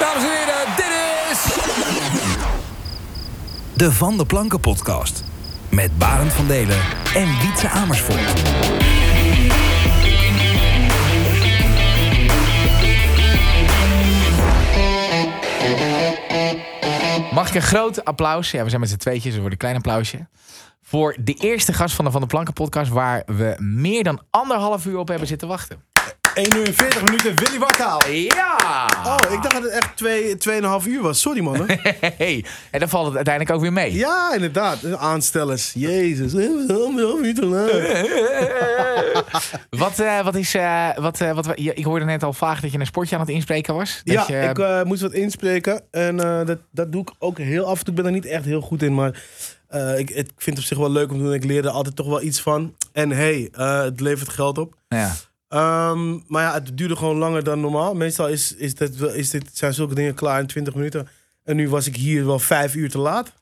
dames en heren, dit is... De Van der Planken Podcast. Met Barend van Delen en Wietse Amersfoort. Mag ik een groot applaus? Ja, we zijn met z'n tweetjes, dus het wordt een klein applausje. Voor de eerste gast van de Van der Planken podcast... waar we meer dan anderhalf uur op hebben zitten wachten. 1 uur en 40 minuten, Willy Wartaal. Ja! Oh, ik dacht dat het echt 2, 2,5 uur was. Sorry, man. Hey, en dan valt het uiteindelijk ook weer mee. Ja, inderdaad. Aanstellers. Jezus. Wat, eh, wat is... eh, wat, eh, wat, we- je- ik hoorde net al vaag dat je een sportje aan het inspreken was. Dat Ja, je, ik eh, moest wat inspreken. En eh, dat, dat doe ik ook heel af en toe. Ik ben er niet echt heel goed in, maar eh, ik, ik vind het op zich wel leuk om te doen. Ik leer er altijd toch wel iets van. En hey, eh, het levert geld op. ja. Ehm, maar ja, het duurde gewoon langer dan normaal. Meestal is, is dit, is dit, zijn zulke dingen klaar in 20 minuten. En nu was ik hier wel vijf uur te laat.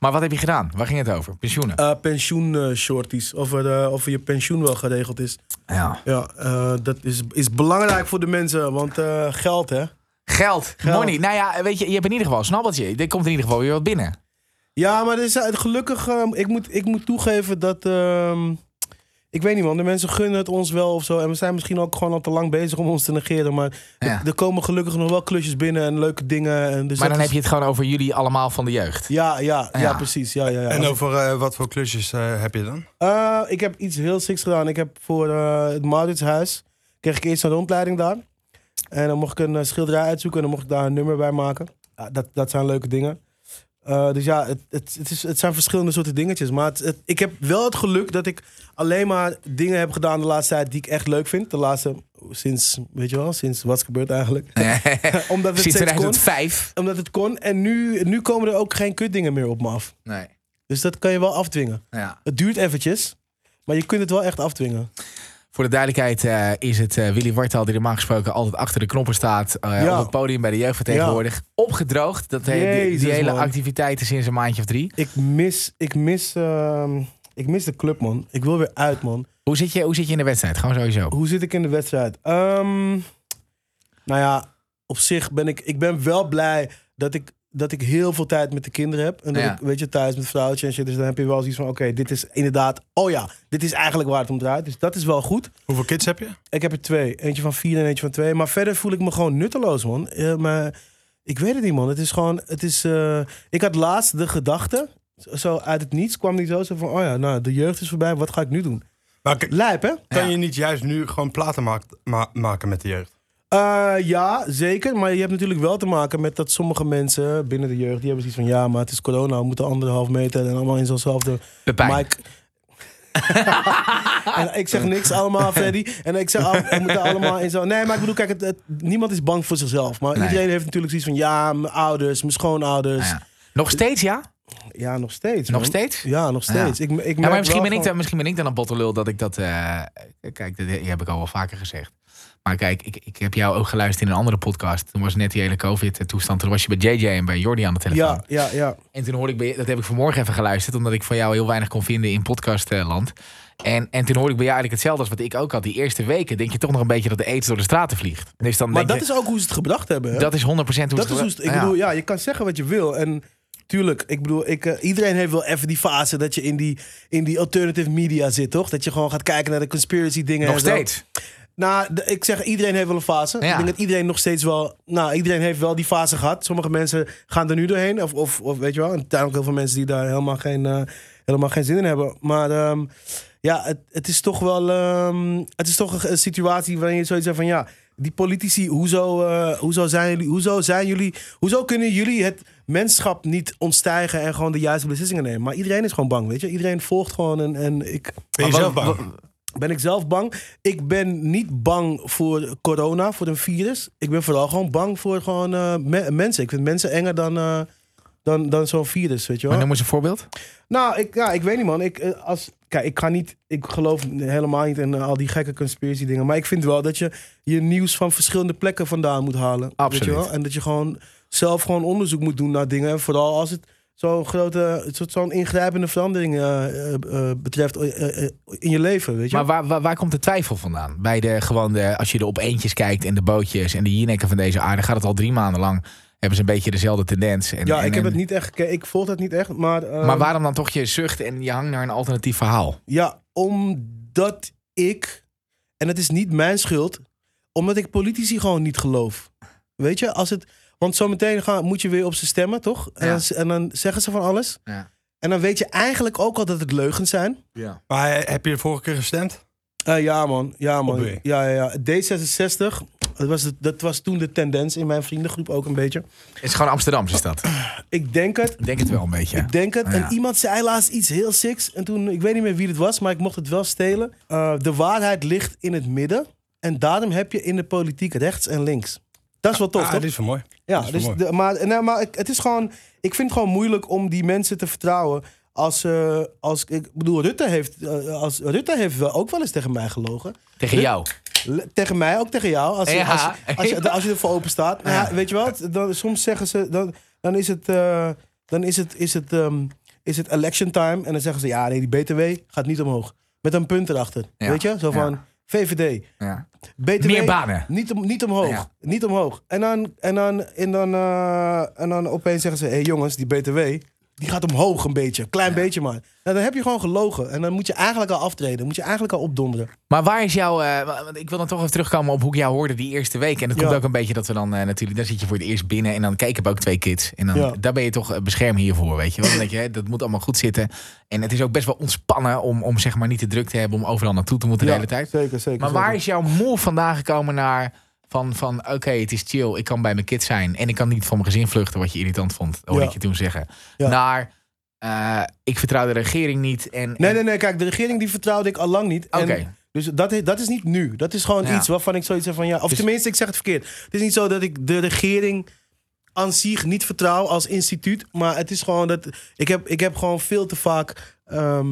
Maar wat heb je gedaan? Waar ging het over? Pensioenen? eh pensioenshorties. Of, er, eh, of je pensioen wel geregeld is. Ja. Ja, eh, dat is, is belangrijk voor de mensen. Want eh, geld, hè? Geld, Geld. money. Nou ja, weet je, je hebt in ieder geval een snabbeltje. Er komt in ieder geval weer wat binnen. Ja, maar er is, eh, gelukkig, eh, ik, moet, ik moet toegeven dat. ehm, ik weet niet, man. De mensen gunnen het ons wel of zo. En we zijn misschien ook gewoon al te lang bezig om ons te negeren. Maar er- Ja. er, komen gelukkig nog wel klusjes binnen en leuke dingen. En dus Maar dat dan heb is- je het gewoon over jullie allemaal van de jeugd. Ja, ja, ja, Ja. precies. Ja, ja, ja. En over eh, wat voor klusjes eh, heb je dan? Eh, ik heb iets heel siks gedaan. Ik heb voor eh, het Mauritshuis kreeg ik eerst een rondleiding daar. En dan mocht ik een eh, schilderij uitzoeken en dan mocht ik daar een nummer bij maken. Ja, dat, dat zijn leuke dingen. Eh, dus ja, het, het, het, is, het zijn verschillende soorten dingetjes. Maar het- het- ik heb wel het geluk dat ik alleen maar dingen heb gedaan de laatste tijd die ik echt leuk vind. De laatste, sinds, weet je wel, sinds wat is gebeurd eigenlijk. Omdat het Sinds steeds kon. 2005. Omdat het kon. En nu, nu komen er ook geen kutdingen meer op me af. Nee. Dus dat kan je wel afdwingen. Ja. Het duurt eventjes, maar je kunt het wel echt afdwingen. Voor de duidelijkheid eh, is het eh, Willy Wartaal die normaal gesproken altijd achter de knoppen staat eh, Ja. op het podium bij de jeugdvertegenwoordig. Opgedroogd. Dat, eh, die- die, Jezus, hele man. activiteit is sinds een maandje of drie. Ik mis, ik mis, ehm, ik mis de club, man. Ik wil weer uit, man. Hoe zit je, hoe zit je in de wedstrijd? Gewoon sowieso. Hoe zit ik in de wedstrijd? Ehm, nou ja, op zich ben ik, ik ben wel blij dat ik, dat ik heel veel tijd met de kinderen heb. En dat Ja. ik, weet je, thuis met vrouwtje en shit. Dus dan heb je wel zoiets van, oké, dit is inderdaad, oh ja, dit is eigenlijk waar het om draait. Dus dat is wel goed. Hoeveel kids heb je? Ik heb er twee. Eentje van vier en eentje van twee. Maar verder voel ik me gewoon nutteloos, man. Eh, maar ik weet het niet, man. Het is gewoon... Het is, eh, ik had laatst de gedachte... zo- Zo uit het niets kwam die zo, zo van... Oh ja, nou, de jeugd is voorbij. Wat ga ik nu doen? Maar k- Lijp, hè? kan je niet juist nu gewoon platen maak- ma- maken met de jeugd? Eh, ja, zeker. Maar je hebt natuurlijk wel te maken met dat sommige mensen binnen de jeugd... die hebben zoiets van... Ja, maar het is corona. We moeten anderhalf meter en allemaal in zo'nzelfde... Pepijn. Mike. en ik zeg niks allemaal, Freddy. En ik zeg, al- we moeten allemaal in zo. Nee, maar ik bedoel, kijk, het, het- niemand is bang voor zichzelf. Maar Nee. iedereen heeft natuurlijk zoiets van, ja, mijn ouders, mijn schoonouders. Nou Ja, ja. Nog steeds, ja? nog steeds. Nog man. steeds? Ah, Ja, nog steeds. Ik, ik Ja, merk maar misschien wel ben, ik van- dan, misschien ben ik dan een bottenlul dat ik dat... eh, kijk, dat heb ik al wel vaker gezegd. Maar kijk, ik, ik heb jou ook geluisterd in een andere podcast. Toen was net die hele COVID-toestand. Toen was je bij JJ en bij Jordi aan de telefoon. Ja, ja, ja. En toen hoorde ik, bij- dat heb ik vanmorgen even geluisterd, omdat ik van jou heel weinig kon vinden in podcastland. En, en toen hoorde ik bij jou eigenlijk hetzelfde als wat ik ook had. Die eerste weken denk je toch nog een beetje dat de aids door de straten vliegt. Dus dan Maar denk dat je, is ook hoe ze het gebracht hebben. Hè? dat is 100% hoe Dat is hoe het- ik ja. bedoel, ja, je kan zeggen wat je wil. En tuurlijk, ik bedoel, ik, eh, iedereen heeft wel even die fase dat je in die, in die alternative media zit, toch? Dat je gewoon gaat kijken naar de conspiracy dingen. Nog en zo. steeds. Nou, de- ik zeg, iedereen heeft wel een fase. Ja. Ik denk dat iedereen nog steeds wel... Nou, iedereen heeft wel die fase gehad. Sommige mensen gaan er nu doorheen. Of, of, of weet je wel. En er zijn ook heel veel mensen die daar helemaal geen, eh, helemaal geen zin in hebben. Maar ehm, ja, het, het is toch wel... ehm, het is toch een, een situatie waarin je zoiets zegt van... Ja, die politici, hoezo, eh, hoezo, zijn jullie, hoezo zijn jullie... Hoezo kunnen jullie het mensschap niet ontstijgen... en gewoon de juiste beslissingen nemen? Maar iedereen is gewoon bang, weet je. Iedereen volgt gewoon en, en ik... Ben je Maar zelf wat- bang? ben ik zelf bang? Ik ben niet bang voor corona, voor een virus. Ik ben vooral gewoon bang voor gewoon, eh, me- mensen. Ik vind mensen enger dan, eh, dan, dan zo'n virus, weet je Maar wel. noem eens een voorbeeld. Nou, ik, ja, ik weet niet, man. Ik, eh, als, kijk, ik ga niet... Ik geloof helemaal niet in eh, al die gekke conspiracy dingen. Maar ik vind wel dat je je nieuws van verschillende plekken vandaan moet halen. Weet Absoluut. je wel? En dat je gewoon zelf gewoon onderzoek moet doen naar dingen. En vooral als het zo'n grote, zo- zo'n ingrijpende verandering eh, eh, eh, betreft eh, eh, in je leven, weet je? Maar waar, waar, waar komt de twijfel vandaan? Bij de, gewoon de, als je de op eentjes kijkt en de bootjes en de jinekken van deze aarde, gaat het al drie maanden lang. Hebben ze een beetje dezelfde tendens. En, ja, en- ik heb en- het niet echt gekeken. Ik volg het niet echt, maar... ehm, Maar waarom dan toch je zucht en je hangt naar een alternatief verhaal? Ja, omdat ik, en het is niet mijn schuld, omdat ik politici gewoon niet geloof. Weet je, als het. Want zometeen gaan, moet je weer op ze stemmen, toch? En, Ja. dan, en dan zeggen ze van alles. Ja. En dan weet je eigenlijk ook al dat het leugens zijn. Maar eh, heb je de vorige keer gestemd? Eh, ja, man. Ja, man. Op wie? Ja, ja, ja. D66, dat was, het- dat was toen de tendens in mijn vriendengroep ook een beetje. Het is gewoon Amsterdamse stad. Ik denk het. Ik denk het wel een beetje. Ik denk Ah, het. Ja. En iemand zei laatst iets heel siks. En toen, ik weet niet meer wie het was, maar ik mocht het wel stelen. Eh, de waarheid ligt in het midden. En daarom heb je in de politiek rechts en links. Dat is wel tof, Ah, toch? dit is wel mooi. ja, dat is wel dus mooi. de- maar, nee, maar ik- het is gewoon... Ik vind het gewoon moeilijk om die mensen te vertrouwen... Als, eh, als ik bedoel, Rutte heeft, eh, als, Rutte heeft wel ook wel eens tegen mij gelogen. Tegen jou. Le- Tegen mij, ook tegen jou. Als je, Ja. als je, als je, als je ervoor open staat. Nou ja, weet je wel, het- dan, soms zeggen ze, dan, dan is het, eh, dan is het, is het, ehm, is het election time. En dan zeggen ze, ja nee, die BTW gaat niet omhoog. Met een punt erachter. Ja. Weet je, zo van Ja. VVD. Ja. BTW, Meer banen. Niet, om, niet omhoog. Ja. Niet omhoog. En dan, en dan, en dan, eh, en dan opeens zeggen ze, hé hey, jongens, die BTW... Die gaat omhoog een beetje, een klein beetje maar. Nou, dan heb je gewoon gelogen. En dan moet je eigenlijk al aftreden. Moet je eigenlijk al opdonderen. Maar waar is jouw... eh, wa- want ik wil dan toch even terugkomen op hoe ik jou hoorde die eerste week. En dat komt Ja. ook een beetje dat we dan eh, natuurlijk... Dan zit je voor het eerst binnen en dan kijken we ook twee kids. En dan, Ja. daar ben je toch eh, bescherm hiervoor, weet je wel. Dan denk je, hè, dat moet allemaal goed zitten. En het is ook best wel ontspannen om, om zeg maar niet te druk te hebben... om overal naartoe te moeten de Ja, hele tijd. Zeker, zeker. Maar zeker. waar is jouw moe vandaan gekomen naar... Van, van oké, het is chill, ik kan bij mijn kids zijn... en ik kan niet van mijn gezin vluchten, wat je irritant vond. Dat hoorde Ja. ik je toen zeggen. Ja. Naar, eh, ik vertrouw de regering niet en... Nee, en- nee, nee. Kijk, de regering die vertrouwde ik al lang niet. En Oké. Dus dat, he- dat is niet nu. Dat is gewoon Ja. iets waarvan ik zoiets zeg van ja. Of Dus- tenminste, ik zeg het verkeerd. Het is niet zo dat ik de regering aan zich niet vertrouw als instituut. Maar het is gewoon dat. Ik heb, ik heb gewoon veel te vaak. ehm,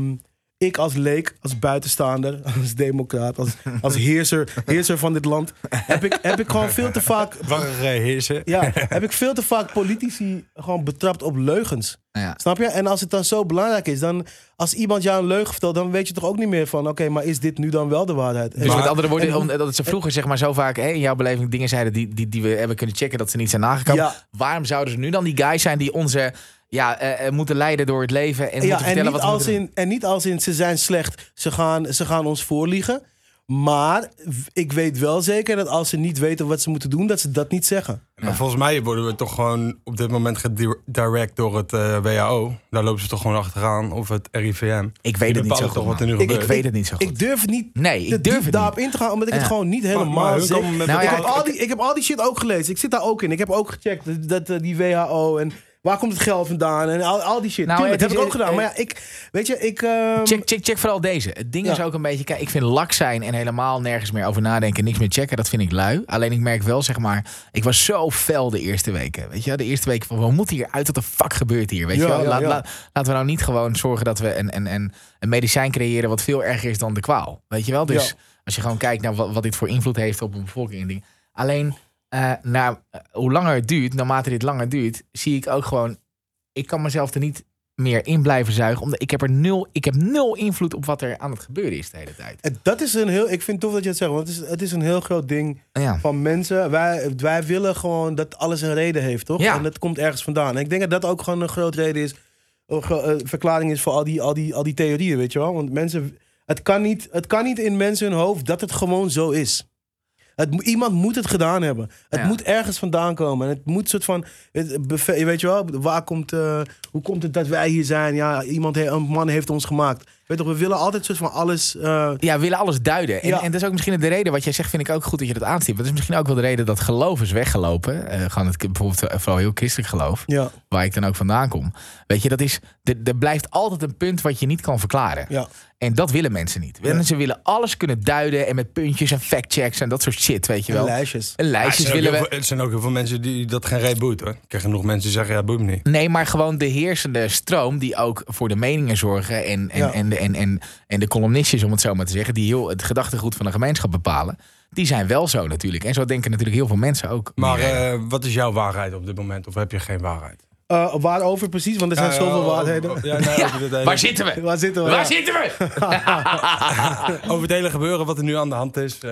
ik als leek, als buitenstaander, als democraat, als, als heerser, heerser van dit land. Heb ik, heb ik gewoon veel te vaak. Wakker eh, heersen. Ja, heb ik veel te vaak politici gewoon betrapt op leugens. Nou Ja. Snap je? En als het dan zo belangrijk is, dan als iemand jou een leugen vertelt, dan weet je toch ook niet meer van, oké, maar is dit nu dan wel de waarheid? Dus En- met andere woorden, en- om- dat ze vroeger zeg maar zo vaak hè, in jouw beleving dingen zeiden die, die, die we hebben kunnen checken dat ze niet zijn nagekomen. Ja. Waarom zouden ze nu dan die guys zijn die onze ja, eh, eh, moeten leiden door het leven en ja, moeten en vertellen niet, wat we als moeten doen? in, en niet als in ze zijn slecht, ze gaan, ze gaan ons voorliegen. Maar w- ik weet wel zeker dat als ze niet weten wat ze moeten doen, dat ze dat niet zeggen. Maar volgens mij worden we toch gewoon op dit moment gedirect door het eh, WHO. Daar lopen ze toch gewoon achteraan. Of het RIVM. Ik weet het niet bepalen zo goed. toch wat er man. nu ik, gebeurt. weet het niet zo goed. Ik durf het niet nee, te ik durf diep het niet. daarop in te gaan, omdat ik Ja. het gewoon niet helemaal Maar hun zeg. komen met Nou bepaalde- ik, heb al die, ik heb al die shit ook gelezen. Ik zit daar ook in. Ik heb ook gecheckt dat, dat, eh, die WHO en waar komt het geld vandaan en al, al die shit. Nou, Tuurlijk, het dat is- heb ik ook eh, gedaan. eh, Maar ja, ik, weet je, ik. ehm, Check, check, check vooral deze. Het ding Ja. is ook een beetje, kijk, ik vind lak zijn en helemaal nergens meer over nadenken, niks meer checken, dat vind ik lui. Alleen ik merk wel, zeg maar, ik was zo fel de eerste weken. Weet je, wel? de eerste week van, we moeten hier uit, wat de fuck gebeurt hier? Weet je Ja, wel? ja, Laat- ja. laat- laten we nou niet gewoon zorgen dat we een, een, een, een medicijn creëren wat veel erger is dan de kwaal. Weet je wel? Dus Ja. als je gewoon kijkt naar wat, wat dit voor invloed heeft op een bevolking en dingen. Alleen, eh, nou, eh, hoe langer het duurt, naarmate dit langer duurt, zie ik ook gewoon ik kan mezelf er niet meer in blijven zuigen. Omdat ik heb er nul, ik heb nul invloed op wat er aan het gebeuren is de hele tijd. en dat is een heel. Ik vind het tof dat je het zegt, want het is, het is een heel groot ding Ja. van mensen. Wij, wij willen gewoon dat alles een reden heeft, toch? Ja. En dat komt ergens vandaan. En ik denk dat dat ook gewoon een groot reden is. Een gro- eh, verklaring is voor al die, al, die, al die theorieën, weet je wel? Want mensen. Het kan, niet, het kan niet in mensen hun hoofd dat het gewoon zo is. Het, mo- iemand moet het gedaan hebben. Het Ja. moet ergens vandaan komen. En het moet soort van. Het, beve- je weet je wel, waar komt, eh, hoe komt het dat wij hier zijn? Ja, iemand, he- een man heeft ons gemaakt. Weet toch, we willen altijd soort van alles. eh, Ja, we willen alles duiden. En, Ja. en dat is ook misschien de reden, wat jij zegt, vind ik ook goed dat je dat aanstipt. Dat is misschien ook wel de reden dat geloof is weggelopen. Eh, gewoon het, bijvoorbeeld eh, vooral heel christelijk geloof, ja, waar ik dan ook vandaan kom. Weet je, dat is, er er blijft altijd een punt wat je niet kan verklaren. ja. En dat willen mensen niet. Mensen willen alles kunnen duiden en met puntjes en factchecks en dat soort shit, weet je En wel. lijstjes. En Ja, er lijstjes Ah, zijn ook willen heel we. veel- Er zijn ook heel veel mensen die dat geen reet boeit hoor. Ik ken genoeg mensen die zeggen ja, boeit me niet. Nee, maar gewoon de heersende stroom die ook voor de meningen zorgen. En, en, Ja. en, de- en, en, en de columnistjes, om het zo maar te zeggen, die heel het gedachtegoed van de gemeenschap bepalen. Die zijn wel zo natuurlijk. En zo denken natuurlijk heel veel mensen ook. Maar Ja. eh, wat is jouw waarheid op dit moment? Of heb je geen waarheid? eh, waarover precies? Want er Eh, zijn zoveel waarheden. Ja, nou, over dit hele- Waar zitten we? Waar zitten we? Waar eh, Ja. zitten we? Over het hele gebeuren wat er nu aan de hand is. eh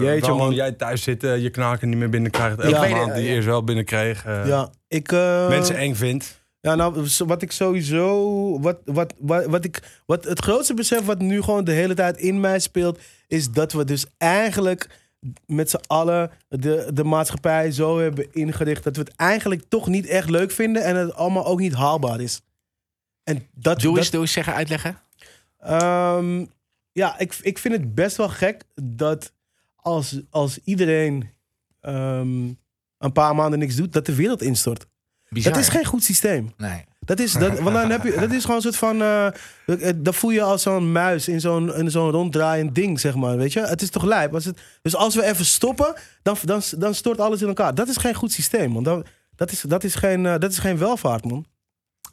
waarom man. jij thuis zit, eh, je knaken niet meer binnenkrijgt. Ik Elke weet maand het, die eh, eerst wel binnenkreeg. eh, Ja, ik... eh, Mensen eng vindt. Ja, nou, zo- wat ik sowieso. Wat, wat, wat, wat ik, wat het grootste besef wat nu gewoon de hele tijd in mij speelt. Is dat we dus eigenlijk met z'n allen de, de maatschappij zo hebben ingericht. Dat we het eigenlijk toch niet echt leuk vinden. En dat het allemaal ook niet haalbaar is. En dat, Doe dat, eens, doe eens zeggen, uitleggen. Ehm, ja, ik, ik vind het best wel gek dat als, als iedereen ehm, een paar maanden niks doet, dat de wereld instort. Bizar. Dat is geen goed systeem. Nee. Dat is, dat, want dan heb je, dat is gewoon een soort van. eh, eh, dat voel je als zo'n muis in zo'n, in zo'n ronddraaiend ding, zeg maar. Weet je? Het is toch lijp. Als het, dus als we even stoppen, dan, dan, dan stort alles in elkaar. Dat is geen goed systeem, man. Dat, dat, is, dat, is, geen, eh, dat is geen welvaart, man.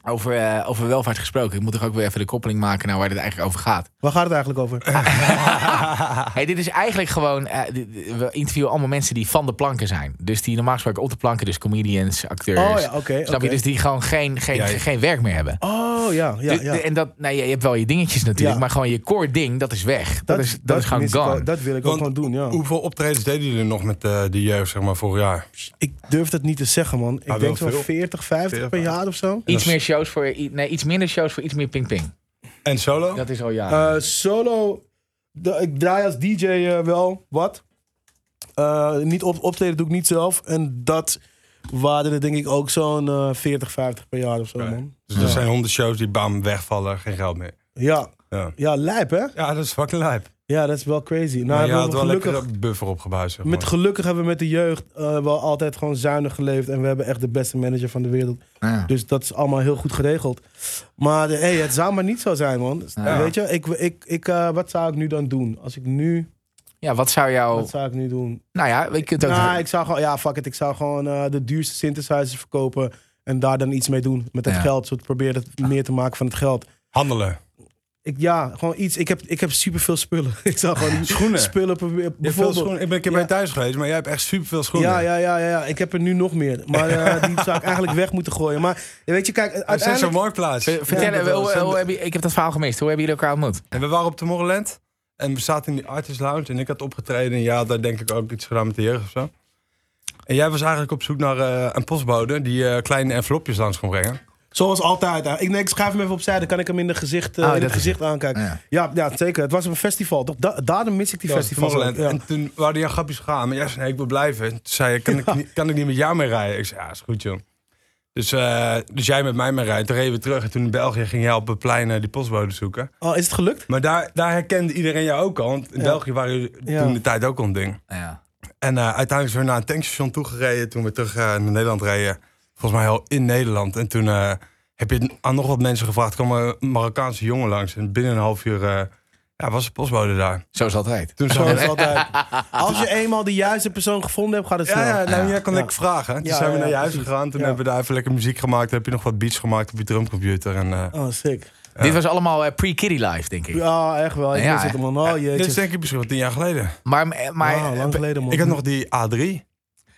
Over, eh, over welvaart gesproken. Ik moet toch ook weer even de koppeling maken naar waar dit eigenlijk over gaat. Waar gaat het eigenlijk over? Hey, dit is eigenlijk gewoon. eh, dit- dit- we interviewen allemaal mensen die van de planken zijn. Dus die normaal gesproken op de planken, dus comedians, acteurs. Oh ja, oké. Snap oké. je? Dus die gewoon geen, geen, Ja, ja. geen werk meer hebben. Oh ja, ja, Dus- ja. En dat, nou, je je hebt wel je dingetjes natuurlijk, Ja. maar gewoon je core ding, dat is weg. Dat, is, dat, is gewoon mis ik gone. ook. Dat wil ik ook Want gewoon doen, ja. Hoeveel optredens deden jullie nog met eh de jeugd, zeg maar, vorig jaar? Ik durf dat niet te zeggen, man. Ik wel denk zo'n veel. 40, 50 per 40. jaar of zo. Iets meer shows voor, i- nee, iets minder shows voor iets meer ping ping. En solo? Dat is al ja. Eh, solo, de- ik draai als DJ eh, wel wat. Eh, niet op, optreden doe ik niet zelf. En dat waren er denk ik ook zo'n eh, 40, 50 per jaar of zo, Oké. man. Dus er zijn honderd shows die bam wegvallen, geen geld meer. Ja, Ja, ja, lijp hè? ja dat is fucking lijp. Ja, dat is wel crazy. Nou, maar je hebben had we wel gelukkig, lekker een buffer opgebouwd, zeg maar. met gelukkig hebben we met de jeugd eh, wel altijd gewoon zuinig geleefd. En we hebben echt de beste manager van de wereld. Ja. Dus dat is allemaal heel goed geregeld. Maar eh, hey, het zou maar niet zo zijn, man. Ja. Weet je, ik, ik, ik, eh, wat zou ik nu dan doen? Als ik nu, ja, wat zou jou. wat zou ik nu doen? Nou ja, Oh. je kunt ook. Nou, ik zou gewoon, ja, fuck it. Ik zou gewoon eh, de duurste synthesizers verkopen en daar dan iets mee doen met het Ja. geld. Zo proberen het meer te maken van het geld. Handelen. Ik, ja, gewoon iets. Ik heb, ik heb superveel spullen. ik zou gewoon Schoenen. spullen proberen. Je hebt veel Bijvoorbeeld. schoenen. Ik ben een keer Ja. bij je thuis geweest, maar jij hebt echt superveel schoenen. Ja, ja, ja, ja, ja. Ik heb er nu nog meer. Maar eh, die zou ik eigenlijk weg moeten gooien. Maar weet je, kijk, Het is zo'n uiteindelijk... marktplaats. Ver- Vertel, Ja, hoe- hoe- dat hoe was- heb je- ik heb dat verhaal gemist. Hoe hebben jullie elkaar ontmoet? En we waren op Tomorrowland. En we zaten in die Artist Lounge. En ik had opgetreden. En jij had daar denk ik ook iets gedaan met de jeugd of zo. En jij was eigenlijk op zoek naar eh, een postbode die eh, kleine envelopjes langs kon brengen. Zoals altijd. hè. Ik, nee, ik schuif hem even opzij, dan kan ik hem in, de gezicht, eh, Oh, in dat het is gezicht aankijken. Ja. Ja. Ja, zeker. Het was op een festival. Toch? Da- daarom mis ik die Dat was festivals. ook. Tomorrowland. En Ja. toen waren die aan grapjes gegaan. Ah, Maar jij zei, nee, ik wil blijven. En toen zei je, kan, ik, niet- kan ik niet met jou mee rijden? Ik zei, ja, is goed joh. Dus, eh, dus jij met mij mee rijden. Toen reden we terug. En toen in België ging jij op het plein eh, die postbode zoeken. Oh, is het gelukt? Maar daar, daar herkende iedereen jou ook al. Want in Ja. België waren jullie Ja. toen de tijd ook al een ding. Nou Ja. En eh, uiteindelijk zijn we naar een tankstation toegereden. Toen we terug eh, naar Nederland reden. Volgens mij al in Nederland. En toen eh, heb je aan nog wat mensen gevraagd. kwam er een Marokkaanse jongen langs. En binnen een half uur eh, ja, was de postbode daar. Zoals altijd. Toen zo. Zoals altijd. Als je eenmaal de juiste persoon gevonden hebt, gaat het snel. Ja, ja, nou, jij kan Ja. ik vragen. Toen Ja, zijn we ja, naar je huis precies. gegaan. Toen Ja. hebben we daar even lekker muziek gemaakt. Heb je nog wat beats gemaakt op je drumcomputer. En, eh, Oh, sick. Dit was allemaal eh, pre-kiddy life, denk ik. Ja, echt wel. Ik Ja, wist het, hè? man. Oh, dit is jeetje. denk ik misschien wel tien jaar geleden. Maar, eh, maar Wauw, lang geleden, man. Ik had nog die A3.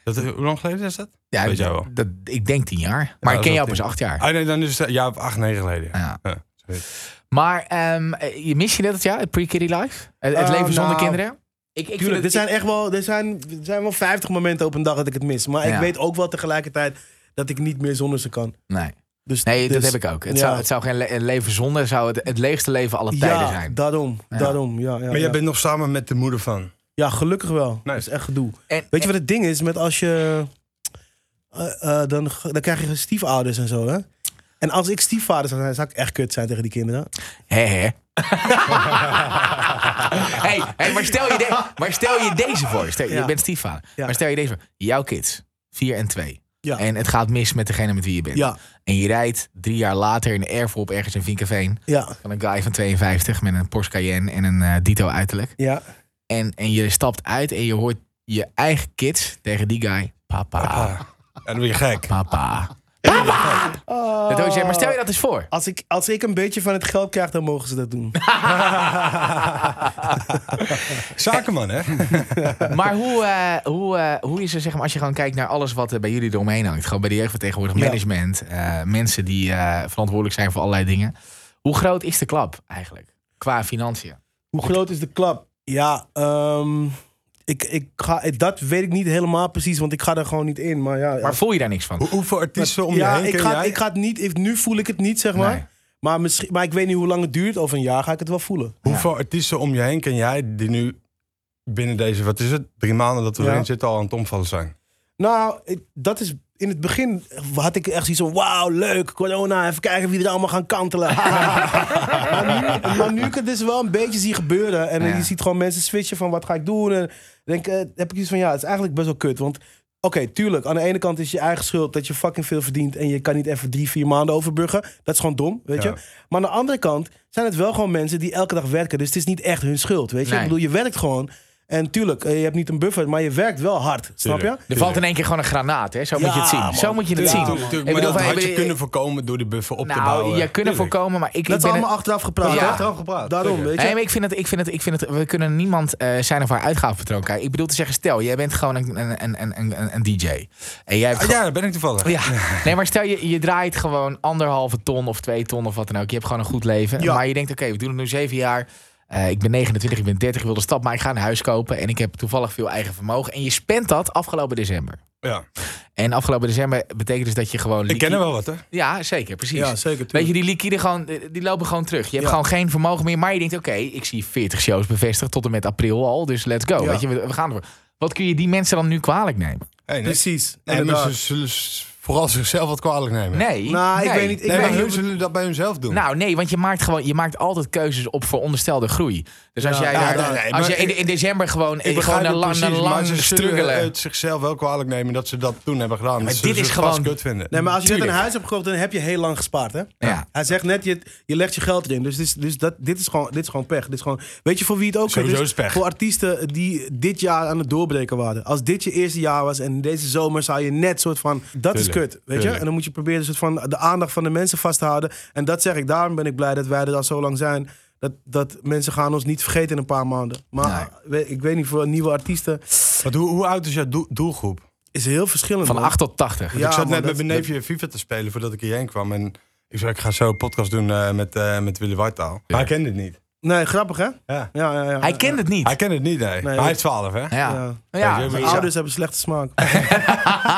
Dat, eh, hoe lang geleden is dat? ja, weet jij wel. Dat, ik denk tien jaar. Maar Ja, ik dat ken jou is pas acht jaar. Ah nee, dan is het ja, acht, negen geleden. Ja. Ja. sorry. Maar ehm, eh, je mis je dat, ja? Het pre-kiddy life? Het, het Eh, leven zonder nou, kinderen? Ik, ik Tuurlijk, vind er het- zijn echt wel, er zijn, er zijn wel 50 momenten op een dag dat ik het mis. Maar ik Ja. weet ook wel tegelijkertijd dat ik niet meer zonder ze kan. Nee, Dus, nee dus, dat heb ik ook. Het, ja. zou, het zou geen le- een leven zonder, zou het het leegste leven alle tijden Ja, zijn. daarom. Ja. daarom ja, ja, Maar jij ja. bent nog samen met de moeder van. ja, gelukkig wel. Dat is Nice. echt gedoe. En, Weet je wat het ding is met als je... eh, eh, dan, dan krijg je stiefouders en zo, hè? En als ik stiefvader zou zijn, zou ik echt kut zijn tegen die kinderen. Hé, hé. Hey, hey, maar, stel je de- maar stel je deze voor. Stel, Ja. Je bent stiefvader. Ja. Maar stel je deze voor. Jouw kids, vier en twee. Ja. En het gaat mis met degene met wie je bent. Ja, En je rijdt drie jaar later in de Erfop ergens in Vinkeveen. ja, Van een guy van 52 met een Porsche Cayenne en een eh, Dito uiterlijk. ja. En, en je stapt uit en je Ah. hoort je eigen kids tegen die guy. Papa, Ja, dan ben je gek. Oh. papa. Dat hoor je zeggen, maar stel je dat eens voor. Als ik, als ik een beetje van het geld krijg, dan mogen ze dat doen. Zakenman, hè? Maar hoe, eh, hoe, eh, hoe is er, zeg maar, als je gewoon kijkt naar alles wat er bij jullie eromheen hangt. Gewoon bij de jeugdvertegenwoordig Ja. management. eh, mensen die eh, verantwoordelijk zijn voor allerlei dingen. Hoe groot is de klap eigenlijk? Qua financiën. Hoe groot is de klap? Ja, ehm, ik, ik ga, dat weet ik niet helemaal precies, want ik ga er gewoon niet in. Maar ja, Maar voel je daar niks van? Hoe- hoeveel artiesten om je ja heen ik, ken ga, jij? ik ga het niet, ik- nu voel ik het niet, zeg maar. Nee. Maar, misschien, maar ik weet niet hoe lang het duurt. Over een jaar ga ik het wel voelen. Hoeveel artiesten om je heen ken jij die nu binnen deze, wat is het, drie maanden dat we Ja. erin zitten al aan het omvallen zijn? Nou, ik- dat is... In het begin had ik echt zoiets van... Wauw, leuk, corona. Even kijken wie er allemaal gaan kantelen. maar, nu, maar nu ik het dus wel een beetje zie gebeuren... en Ja. je ziet gewoon mensen switchen van wat ga ik doen... en denk, eh, heb ik iets van... Ja, het is eigenlijk best wel kut, want... Oké, tuurlijk. Aan de ene kant is je eigen schuld dat je fucking veel verdient... en je kan niet even drie, vier maanden overbruggen. Dat is gewoon dom, weet Ja. je. Maar aan de andere kant zijn het wel gewoon mensen die elke dag werken. Dus het is niet echt hun schuld, weet je. Nee. Ik bedoel, je werkt gewoon. En tuurlijk, eh, je hebt niet een buffer, maar je werkt wel hard, snap je? Tuurlijk. Er valt in één keer gewoon een granaat, hè? Zo Ja, moet je het zien. man. Zo moet je het Ja, zien. man. Tuurlijk, Ik maar bedoel, dat wij had je hebben- kunnen voorkomen door die buffer op te Nou, bouwen. je kunnen Tuurlijk. voorkomen, maar ik, ik Dat is ben... allemaal achteraf gepraat. Ja. hè? Achteraf gepraat. Daarom, Zeker. weet je. Nee, maar ik vind het, ik vind het, ik vind het, we kunnen niemand eh, zijn of haar uitgavenpatroon kijken. Ik bedoel te zeggen, stel, jij bent gewoon een, een, een, een, een, een DJ. En jij hebt Ah, ja, dat ben ik toevallig. Ja, nee, maar stel je, je draait gewoon anderhalve ton of twee ton of wat dan ook. Je hebt gewoon een goed leven. Ja. Maar je denkt, oké, we doen het nu zeven jaar. Eh, ik ben 29, ik ben 30, ik wil de stap, maar ik ga een huis kopen. En ik heb toevallig veel eigen vermogen. En je spent dat afgelopen december. Ja. En afgelopen december betekent dus dat je gewoon... Ik ken liquide- er wel wat, hè? Ja, zeker, precies. Ja, zeker. Weet je, tuurlijk. die liquide gewoon, eh, die lopen gewoon terug. Je hebt Ja. gewoon geen vermogen meer. Maar je denkt, oké, ik zie 40 shows bevestigd tot en met april al. Dus let's go. Ja. Weet je, we, we gaan ervoor. Wat kun je die mensen dan nu kwalijk nemen? Hey, nee. Precies. En inderdaad. mensen zullen s- vooral zichzelf wat kwalijk nemen. Nee. Nou, ik nee. weet niet. Ik Nee, weet maar niet. hun zullen dat bij hunzelf doen. Nou, nee, want je maakt, gewoon, je maakt altijd keuzes op veronderstelde groei. Dus als Ja. jij, Ja, daar, nee, nee, als maar jij in, ik- in december Ik gewoon, begrijp gewoon een het lang, precies, een maar lang ze zullen struggelen. het zichzelf wel kwalijk nemen dat ze dat toen hebben gedaan. maar Dat dit zullen is ze vast gewoon- kut vinden. Nee, maar als je net een Tuurlijk. huis hebt gekocht, dan heb je heel lang gespaard, hè? Ja. Hij zegt net, je, je legt je geld erin. Dus, dit is- dus dat, dit, is gewoon, dit is gewoon pech. Dit is gewoon, weet je voor wie het ook Sowieso Dus is pech. Voor artiesten die dit jaar aan het doorbreken waren. Als dit je eerste jaar was en deze zomer zou je net soort van... Dat is Tuurlijk, kut, weet je? tuurlijk. En dan moet je proberen soort van de aandacht van de mensen vast te houden. En dat zeg ik, daarom ben ik blij dat wij er al zo lang zijn. Dat, dat mensen gaan ons niet vergeten in een paar maanden. Maar we- ik weet niet, voor nieuwe artiesten Want hoe, hoe oud is jouw doel- doelgroep? is heel verschillend. Van man. 8 tot 80. Ja, ik zat man, net met dat- mijn neefje FIFA te spelen voordat ik hierheen kwam. En ik zei, ik ga zo een podcast doen eh, met, eh, met Willy Wartaal. Maar hij kende het niet. Nee, grappig hè? Ja. Ja, ja, ja. Hij kent het niet. Hij kende het niet, nee. Maar ik- hij is 12, hè? Ja. Ja. Ja. Ja, Mijn Ja. ouders hebben slechte smaak.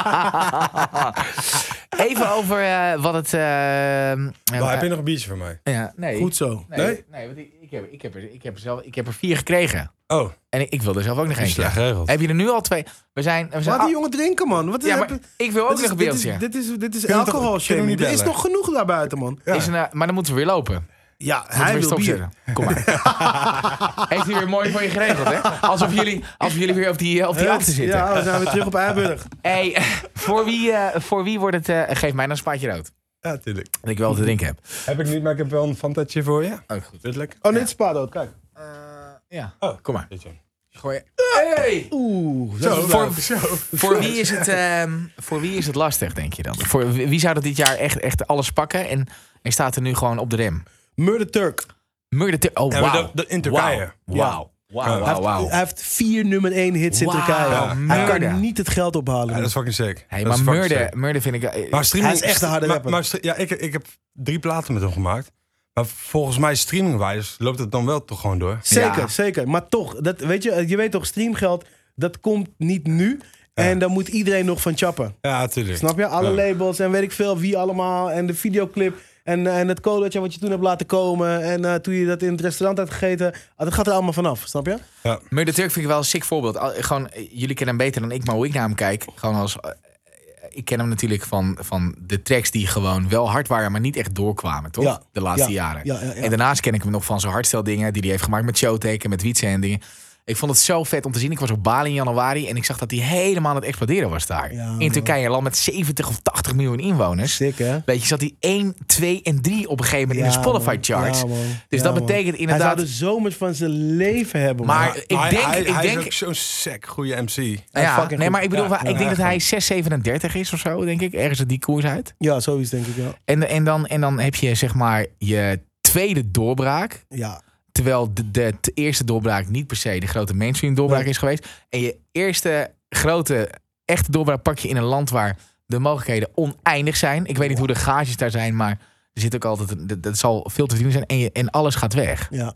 Even over eh, wat het... eh, eh, Maar heb je nog een biertje van mij? ja, nee. Goed zo. Nee, Nee? nee? want ik, ik, heb, ik, heb er, ik, heb er zelf, ik heb er vier gekregen. Oh, En ik, ik wil er zelf ook nog dat is eentje. slecht geregeld. Heb je er nu al twee? We zijn... We zijn Laat die ah, jongen drinken, man. Wat is, ja, heb- maar ik wil ook nog dit, is, een dit, is, beeldje. Is, dit is, dit is Kunnen we toch- alcohol kunnen we shaming. niet Er is bellen? nog genoeg daar buiten, man. Ja. een, eh, maar dan moeten we weer lopen. Ja, Moeten hij we wil weer bier. stopzetten. Kom maar. Heeft hij weer mooi voor je geregeld, hè? Alsof jullie, alsof jullie weer op die, eh, op die Ja, auto zitten. Ja, we zijn weer terug op Eiburg. Hey, voor wie, eh, voor wie wordt het... eh, geef mij dan een spaatje rood. Ja, tuurlijk. Dat ik wel te drinken heb. Heb ik niet, maar ik heb wel een fantatje voor je. Vind Ook goed. je het lekker? Oh, dit is Spado, kijk. Eh, ja. Oh, kom maar. Dit, joh. Gooi. Hey! Oeh, Zo, zo. voor, zo. Voor wie, is het, ehm, voor wie is het lastig, denk je dan? Voor wie wie zou dat dit jaar echt, echt alles pakken en, en staat er nu gewoon op de rem? Murder Turk. Murder Tur- Oh, Ja, wauw. maar dat- dat in Turkije. Wauw. Wauw. Wauw, Ja. Hij wauw, heeft- wauw. Hij heeft vier nummer één hits in Wauw, Turkije. Hij murder. kan niet het geld ophalen. Ja, dat is fucking sick. Hey, Dat is maar fucking sick. murder, murder vind ik... eh, Maar streaming, Hij is echt een harde maar- rapper. maar stre- ja, ik, ik heb drie platen met hem gemaakt. Maar volgens mij streamingwijs loopt het dan wel toch gewoon door. Zeker, Ja. zeker. Maar toch, dat, weet je, je weet toch, streamgeld, dat komt niet nu. En daar moet iedereen nog van chappen. Ja, tuurlijk. Snap je? Alle Ja. labels en weet ik veel wie allemaal. En de videoclip. En, eh, en het colaatje wat je toen hebt laten komen. En eh, toen je dat in het restaurant had gegeten. Ah, dat gaat er allemaal vanaf, snap je? Murder Turk vind ik wel een sick voorbeeld. Al- Gewoon, eh, jullie kennen hem beter dan ik, maar hoe ik naar hem kijk, gewoon als. eh, Ik ken hem natuurlijk van, van de tracks die gewoon wel hard waren, maar niet echt doorkwamen, toch? Ja. De laatste Ja. jaren. Ja, ja, ja. En daarnaast ken ik hem nog van zijn hardstel dingen die hij heeft gemaakt met Showtake en met Wietse en dingen. Ik vond het zo vet om te zien. Ik was op Bali in januari en ik zag dat die helemaal aan het exploderen was daar. Ja, in man. Turkije, een land met 70 of 80 miljoen inwoners. Sick, hè? Weet je, zat die 1, 2 en 3 op een gegeven moment in de Ja, Spotify man. charts. Ja, man. Dus Ja, dat man. betekent Hij inderdaad... zou de zomers van zijn leven hebben, man. Maar ik hij, denk- hij- ik hij denk- is ook zo'n sec goede MC. hij is Nou ja, fucking nee, goed. maar ik bedoel, Ja, ik ja, denk dat ja. hij 6,37 is of zo, denk ik. Ergens die koers uit. Ja, zoiets denk ik, ja. En, en, dan, en dan heb je zeg maar je tweede doorbraak. Ja, Terwijl de, de t- eerste doorbraak niet per se de grote mainstream doorbraak Nee. is geweest. En je eerste grote, echte doorbraak pak je in een land waar de mogelijkheden oneindig zijn. Ik weet niet hoe de gages daar zijn, maar er zit ook altijd, een- dat, dat zal veel te verdienen zijn. En, je, en alles gaat weg. ja.